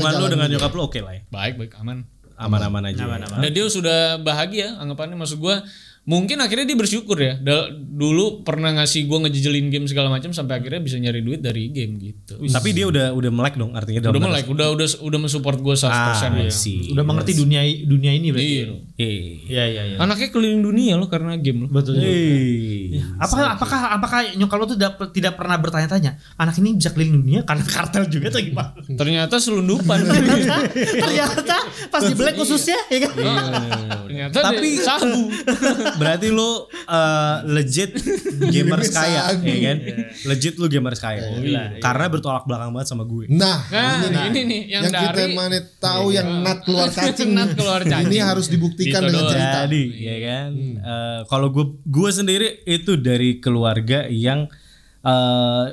A: hubungan
C: udah
A: lu
C: ngejalanin
A: dengan
C: ya.
A: nyokap lu oke lah ya.
D: Baik, baik, aman.
A: Aman-aman aja.
B: Aman-aman.
D: Dan dia sudah bahagia, anggapannya maksud gue. Mungkin akhirnya dia bersyukur ya. Dal- Dulu pernah ngasih gue ngejejelin game segala macam sampai akhirnya bisa nyari duit dari game gitu.
A: Tapi dia udah udah melek dong artinya dalam
D: Udah
A: bahasa-
D: melek, udah udah udah mensupport gue 100%
A: Ah,
D: ya.
A: sih.
B: Udah mengerti dunia dunia ini berarti.
D: Iya.
A: Eh.
B: Iya iya iya.
D: Anaknya keliling dunia loh karena game loh.
B: Betul.
A: Eh.
B: Apakah apakah apakah nyokap lo tuh dap- tidak pernah bertanya-tanya anak ini bisa keliling dunia karena (laughs) kartel juga atau gimana?
D: Ternyata selundupan.
B: (laughs) iya. Ternyata pas di black khususnya ya kan.
D: Ternyata
A: Tapi
D: dia sabu.
A: (laughs) berarti lu eh, legit gamers kaya,
C: Sabu.
A: ya kan? Legit lu gamers kaya.
D: iya,
A: Karena bertolak belakang banget sama gue.
C: Nah,
D: Nah,
C: ini,
D: ini
C: nih.
D: nih yang,
C: Yang, kita
D: dari
C: mana tahu yang nat keluar cacing.
D: Nat keluar cacing.
C: Ini harus dibuktikan
D: Gitu
C: dengan
D: doang.
C: cerita.
A: Jadi, ya kan? Eh, kalau gue gue sendiri itu dari keluarga yang eh,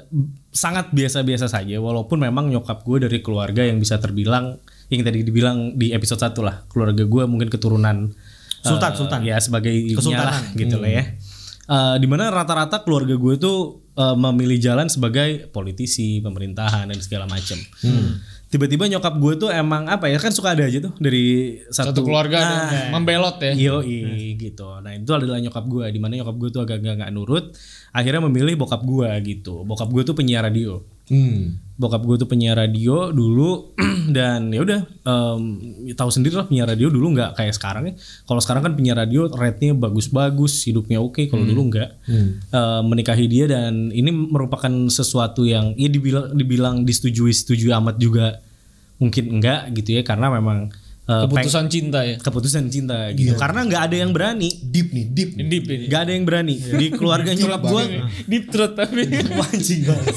A: sangat biasa-biasa saja walaupun memang nyokap gue dari keluarga yang bisa terbilang yang tadi dibilang di episode 1 lah. Keluarga gue mungkin keturunan eh,
B: Sultan, sultan.
A: ya sebagai lah
B: Kesultanan.
A: gitu lah ya. Eh, dimana rata-rata keluarga gue itu eh, memilih jalan sebagai politisi, pemerintahan dan segala macam. Tiba-tiba nyokap gue tuh emang apa ya kan suka ada aja tuh dari satu,
D: satu keluarga ada
A: Ah,
D: yang membelot ya.
A: Yo gitu. Nah itu adalah nyokap gue. Dimana nyokap gue tuh agak-agak nggak nurut. Akhirnya memilih bokap gue gitu. Bokap gue tuh penyiar radio.
C: Hmm.
A: Bokap gue tuh penyiar radio dulu (clears throat) dan ya udah em, ya tahu sendiri lah penyiar radio dulu nggak kayak sekarang ya. Kalau sekarang kan penyiar radio rate-nya bagus-bagus, hidupnya oke. Kalau dulu nggak. Eh, menikahi dia dan ini merupakan sesuatu yang ya dibilang dibilang disetujui setujui amat juga mungkin enggak gitu ya karena memang eh, peng-
D: Keputusan cinta ya.
A: keputusan cinta gitu karena nggak ada yang berani
C: Deep nih, deep. nih.
D: Deep ini.
A: nggak ada yang berani di keluarga nyokap gue
D: Deep throat tapi.
A: Iya,
C: Anjing banget.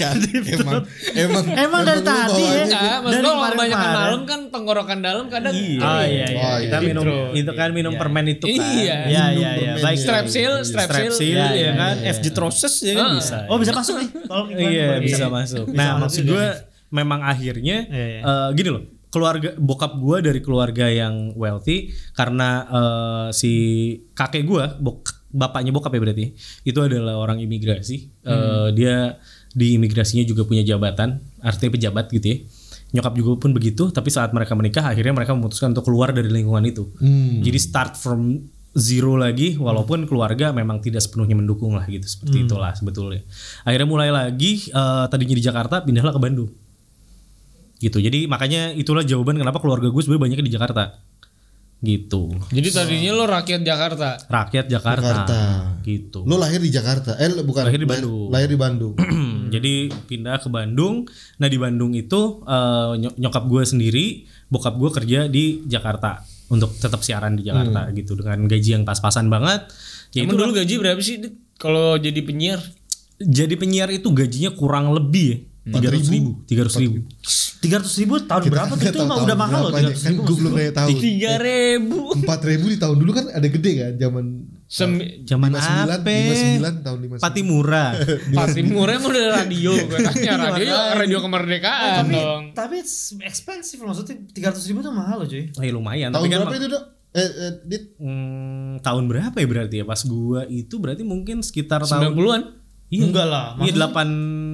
C: Kan, emang, emang,
B: Emang dari
C: lu
B: tadi ya.
C: bawaannya-
D: Enggak, maksud
B: Dari
D: gua kalau
B: kemarin-kemarin.
D: banyak malam kan tenggorokan dalam kadang
B: Oh iya iya.
C: Oh,
A: kita
C: iya.
A: minum itu kan minum permen itu kan
D: Iya.
B: Iya iya iya.
D: Baik
B: Baik.
D: strepsil, strepsil.
A: strepsil
B: Iya,
A: ya,
B: iya,
A: kan FG Troses ya kan
D: Ah.
A: bisa
B: Oh bisa masuk nih. Tolong iklan.
A: iya bisa masuk nah maksud gue memang akhirnya
B: Iya, iya.
A: eh, gini loh keluarga bokap gue dari keluarga yang wealthy karena eh, si kakek gue bok, bapaknya bokap ya berarti itu adalah orang imigrasi Eh, dia di imigrasinya juga punya jabatan artinya pejabat gitu ya nyokap juga pun begitu tapi saat mereka menikah akhirnya mereka memutuskan untuk keluar dari lingkungan itu
C: Hmm.
A: jadi start from zero lagi walaupun keluarga memang tidak sepenuhnya mendukung lah gitu seperti itulah sebetulnya. Akhirnya mulai lagi eh, tadinya di Jakarta pindahlah ke Bandung. Gitu. Jadi makanya itulah jawaban kenapa keluarga gue sebenarnya banyaknya di Jakarta. Gitu.
D: Jadi tadinya lo rakyat Jakarta.
A: Rakyat Jakarta.
C: Jakarta.
A: Gitu. (clears throat)
C: Lu lahir di Jakarta. Eh, lu- bukan.
A: Lahir di
C: lah-
A: Bandung.
C: Lahir di Bandung.
A: Jadi pindah ke Bandung. Nah di Bandung itu eh, nyok- nyokap gue sendiri, bokap gue kerja di Jakarta untuk tetap siaran di Jakarta
C: Hmm.
A: gitu dengan gaji yang pas-pasan banget. Ya
D: Emang
A: itulah.
D: dulu gaji berapa sih Dit? kalau jadi penyiar?
A: jadi penyiar itu gajinya kurang lebih ya
D: Hmm.
A: tiga ratus ribu tiga ratus ribu
B: Tiga ratus ribu tahun berapa tuh
C: Nggak
B: itu
C: tahu
B: emang
C: tahun
B: udah mahal loh.
C: berapanya.
D: Iya.
B: 300.000.
C: Kan gue belum nanya tahu.
D: Tiga ribu.
C: Empat ribu di tahun dulu kan ada gede kan zaman
D: Sem
A: Zaman
C: 59,
A: apa?
C: 59 tahun 59.
A: Patimura. (laughs)
D: Patimura emang udah radio gue
A: Iya,
D: tanya radio radio
A: Eh,
D: kemerdekaan
B: tapi
D: dong.
B: tapi it's expensive loh. maksudnya tiga ratus ribu tuh mahal loh cuy
A: Eh, lumayan.
C: Tahun
A: tapi kan
C: berapa itu, Dok? Eh, eh Dit.
A: Hmm, tahun berapa ya berarti ya pas gua itu berarti mungkin sekitar tahun
D: 90-an.
A: iya
B: Enggak
A: iya
B: lah, maksudnya-
A: delapan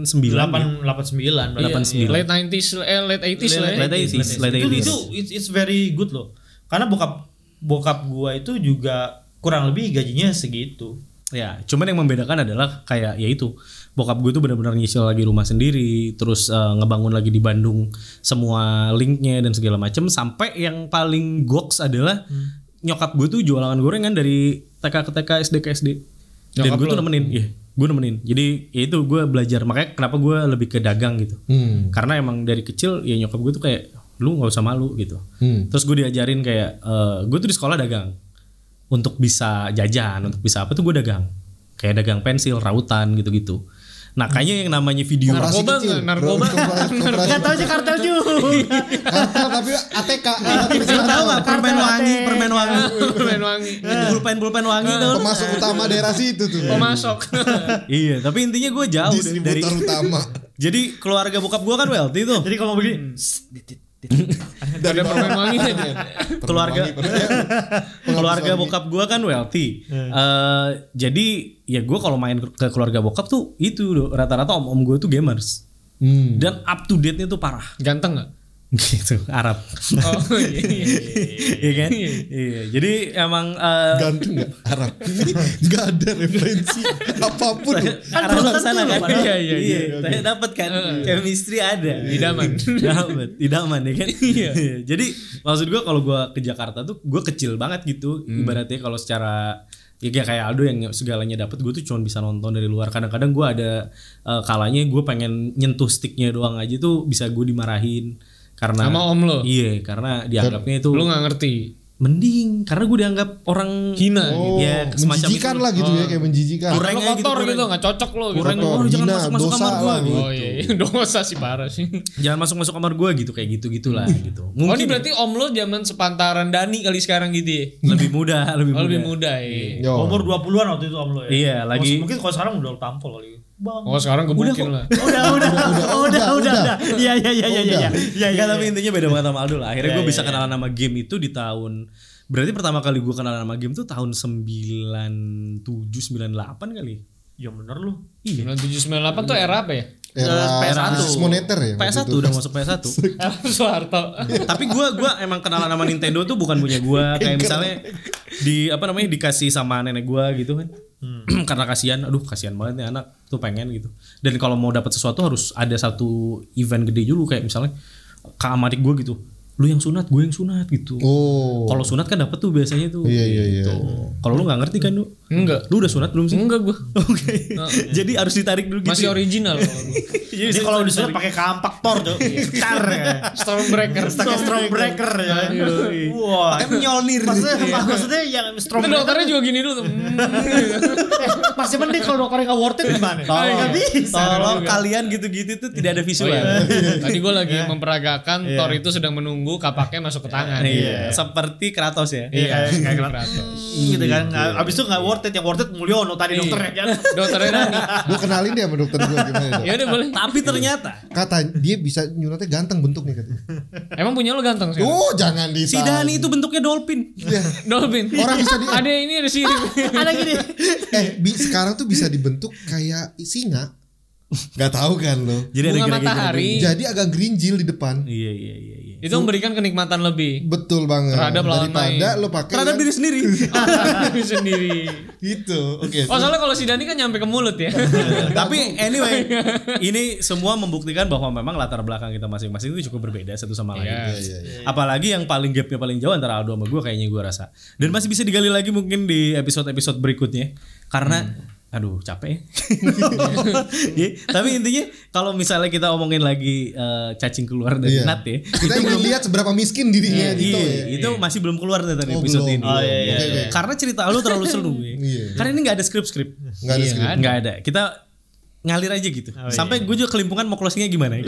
A: sembilan ya. Iya,
B: delapan delapan sembilan Iya.
A: Delapan sembilan.
D: Late 90s eh late 80s lah. ya.
A: Iya.
D: (laughs)
A: Late 80s, late
B: itu
A: 80s.
B: itu it's, it's very good loh karena bokap bokap gua itu juga kurang lebih gajinya segitu
A: ya cuman yang membedakan adalah kayak ya itu bokap gue tuh benar-benar nyicil lagi rumah sendiri terus eh, ngebangun lagi di Bandung semua linknya dan segala macem sampai yang paling goks adalah
B: Hmm.
A: nyokap gue tuh jualan gorengan dari TK ke TK SD ke SD dan
D: Nyokap
A: gue tuh
D: lo?
A: nemenin iya gue nemenin jadi ya itu gue belajar makanya kenapa gue lebih ke dagang gitu
C: Hmm.
A: karena emang dari kecil ya nyokap gue tuh kayak lu nggak usah malu gitu
C: Hmm.
A: terus gue diajarin kayak eh, gue tuh di sekolah dagang untuk bisa jajan untuk bisa apa tuh gue dagang kayak dagang pensil rautan gitu-gitu nah kayaknya yang namanya video
C: Operasi
D: Narkoba
C: kecil.
D: nggak? Narkoba?
C: Koperasi- koperasi-
B: Jakarta juga
C: Kartel tapi ATK. alat tulis
A: Iya, tahu
C: kartel.
A: nggak permen wangi permen wangi
D: Permen wangi.
A: pulpen pulpen wangi tuh
C: Pemasok utama daerah situ tuh.
A: (laughs)
D: Pemasok.
A: iya tapi intinya gue jauh dari, dari
C: Distributor utama.
A: jadi keluarga bokap gue kan wealthy tuh
B: jadi kalau begini
A: Hmm.
D: Ada permen wangi aja.
A: keluarga keluarga bokap gua kan wealthy. Eh, jadi ya gua kalau main ke keluarga bokap tuh itu loh, rata-rata om-om gua tuh gamers
C: Hmm.
A: dan up to date-nya tuh parah
D: Ganteng enggak?
A: (laughs) gitu Arab.
D: Oh iya. iya.
A: Iya kan? Iya. Jadi emang eh,
C: Ganteng gak? (laughs) Arab Ini gak ada referensi apapun loh.
A: Arab
B: belum
A: ke sana kan?
B: tentu loh, padahal.
A: Iya, iya,
C: Iya,
A: iya.
C: oke.
A: Tanya dapat kan? Chemistry ada. (laughs)
D: Idaman.
A: Idaman, idaman ya kan? (laughs) Iya. Jadi maksud gua kalau gua ke Jakarta tuh gua kecil banget gitu.
D: Hmm.
A: Ibaratnya kalau secara ya kayak- kayak Aldo yang segalanya dapat gue tuh cuma bisa nonton dari luar kadang-kadang gua ada eh, kalanya gue pengen nyentuh sticknya doang aja tuh bisa gue dimarahin karena
D: Sama om lo.
A: iya karena dianggapnya itu
D: Lu nggak ngerti.
A: mending karena gue dianggap orang
D: Hina.
C: Oh,
A: Ya, semacam
C: menjijikan
A: itu.
C: lah gitu ya kayak menjijikan.
A: Kurang.
D: Lu
A: Kurangnya gitu,
D: kotor
A: kurang.
D: gitu, nggak cocok lo gitu.
A: kurang oh,
C: kotor,
A: jangan
C: hina,
A: masuk masuk
C: dosa
A: kamar gue
C: lah,
A: gitu.
D: Oh iya, (laughs) iya. dosa sih parah sih.
A: jangan masuk masuk kamar gue gitu kayak gitu gitulah gitu
D: Oh
A: mungkin
D: ini berarti om lo zaman sepantaran Dani kali sekarang gitu ya?
A: lebih muda lebih
D: Oh
A: muda
D: lebih muda ya.
C: Yo.
B: umur 20-an waktu itu om lo ya
A: Iya, lagi-
B: mungkin kalau sekarang udah tampol kali bang
D: Oh sekarang gebukin lah.
B: udah udah udah udah
C: udah.
B: udah
A: Oh,
B: iya iya iya iya iya iya
A: Enggak,
B: iya
A: tapi intinya beda banget sama Aldo lah akhirnya
B: Iya,
A: gue
B: iya,
A: bisa kenalan sama game itu di tahun berarti pertama kali gue kenalan sama game tuh tahun 97 98 kali
B: ya bener lu
A: iya
D: 9798 tuh era apa ya?
A: eh,
C: Era
A: PS1.
C: krisis moneter
B: Iya,
C: ya. waktu
A: PS1
C: itu.
A: udah masuk PS1
D: (laughs)
B: (laughs)
D: Era Soeharto.
A: tapi gue gua emang kenalan sama Nintendo tuh bukan punya gue
C: (laughs)
A: kayak misalnya di apa namanya dikasih sama nenek gue gitu kan
D: Hmm.
A: (clears throat) karena kasihan aduh kasihan banget nih anak tuh pengen gitu dan kalau mau dapat sesuatu harus ada satu event gede dulu kayak misalnya ke sama adik gue gitu lu yang sunat gue yang sunat gitu
C: Oh.
A: kalau sunat kan dapat tuh biasanya tuh
C: Iya iya
A: Gitu.
C: iya.
A: kalau lu nggak ngerti kan lu
D: Enggak.
A: lu
D: Gitu
A: udah sunat belum sih
D: Enggak gua.
A: (laughs) oke jadi harus ditarik dulu gitu
D: Oh, iya. Masih
A: ya.
D: original kalau gua.
A: Jadi
B: jadi kalau disuruh pakai kampak tor tuh
A: Iya.
B: tar ya
D: (laughs) Stormbreaker. (laughs)
B: pakai strong breaker ya wah
A: Iya, pakai Iya. nyolnir
B: maksudnya maksudnya yang strong
D: Itu
B: breaker
D: dokternya juga gini dulu tuh. (laughs)
B: Eh, masih mending kalau dokternya nggak worth it gimana? Nggak bisa.
A: Iya. tolong kalian gitu-gitu tuh tidak ada
D: Oh
A: visual
D: iya. Tadi gue lagi memperagakan Thor itu sedang menunggu kapaknya masuk ke (laughs) tangan.
A: Iya, seperti Kratos ya.
D: Iya,
B: kayak
D: kayak
B: Kratos.
A: Iya,
B: Gitu kan. Nggak- Abis itu nggak worth it. Yang worth it Mulyono tadi dokternya kan.
D: Dokternya Dani.
C: Gue kenalin dia sama dokter gue gimana dok.
D: Ya udah boleh.
A: Tapi ternyata
C: Kata dia bisa nyuratnya ganteng bentuknya katanya.
D: Emang punya lo ganteng sih.
C: Oh jangan Iya. di
A: si Dani itu bentuknya dolphin.
D: Dolphin.
C: Orang bisa di-
D: Ada ini Iya. ada sirip.
A: Iya.
B: Ada gini.
C: eh bi- sekarang tuh bisa dibentuk kayak singa. Gak tahu kan lo.
A: Jadi ada
D: Bunga
A: gerakan
D: matahari.
C: Jadi agak gerinjil di depan.
A: Iya, iya, iya, iya.
D: Itu memberikan kenikmatan (laughs) lebih.
C: Betul banget.
D: Terhadap lawan
C: Daripada
D: main.
C: lo pakai kan
A: Terhadap
C: yang
A: diri sendiri.
D: Iya. sendiri.
C: itu. Gitu, Oke.
D: Oh soalnya kalau si Dani kan nyampe ke mulut ya.
A: (laughs) Tapi anyway, ini semua membuktikan bahwa memang latar belakang kita masing-masing itu cukup berbeda satu sama lain.
D: Iya.
C: Iya, iya.
A: Apalagi yang paling gapnya paling jauh antara Aldo sama gue kayaknya gue rasa. Dan masih bisa digali lagi mungkin di episode-episode berikutnya. Karena aduh capek (laughs) ya. Iya, Tapi intinya kalau misalnya kita omongin lagi eh, cacing keluar dari
C: Iya.
A: nat ya.
C: Kita ingin lihat seberapa miskin dirinya gitu.
A: Iya,
C: ya.
A: itu masih belum keluar nih dari
C: Oh,
A: episode
C: belum.
A: ini.
C: Oh,
B: iya,
C: iya, iya.
A: Karena cerita lu terlalu seru. ya.
C: (laughs) Iya.
A: Karena ini nggak ada skrip-skrip.
C: Nggak
D: Iya.
C: ada
D: Kan
C: skrip.
A: Nggak (laughs) ada. Kita ngalir aja gitu. Sampai gue juga kelimpungan mau closingnya gimana. ya.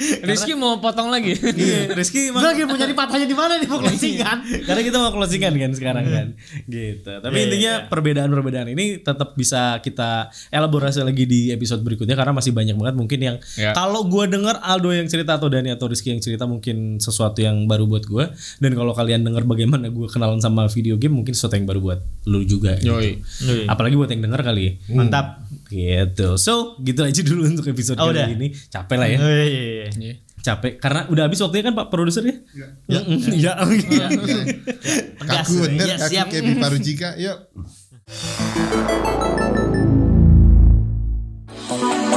D: Rizky mau potong lagi.
A: Iya, (laughs) Rizky
B: Gue
A: emang- Iya.
B: lagi mau nyari patahnya di mana nih
A: (laughs)
B: mau closingan. Iya.
A: Karena kita mau closingan kan sekarang kan. Gitu. Tapi intinya perbedaan-perbedaan ini tetap bisa kita elaborasi lagi di episode berikutnya karena masih banyak banget mungkin yang
B: Iya.
D: Ya.
A: kalau gua denger Aldo yang cerita atau Dani atau Rizky yang cerita mungkin sesuatu yang baru buat gua dan kalau kalian denger bagaimana gua kenalan sama video game mungkin sesuatu yang baru buat lu juga. gitu.
D: Yoi.
B: Yoi.
A: Apalagi buat yang denger kali. ya.
B: Mantap.
A: Gitu. So, gitu aja dulu untuk episode
B: Oh,
A: kali
B: udah.
A: ini. Capek lah ya
B: Iya, iya, iya.
D: Iya.
A: capek karena udah habis waktunya kan pak produser ya ya (laughs) ya,
B: Tegas.
C: Kaku bener,
B: Iya,
C: kaku
B: siap.
C: kayak Biparu Jika. Yuk.
E: Thank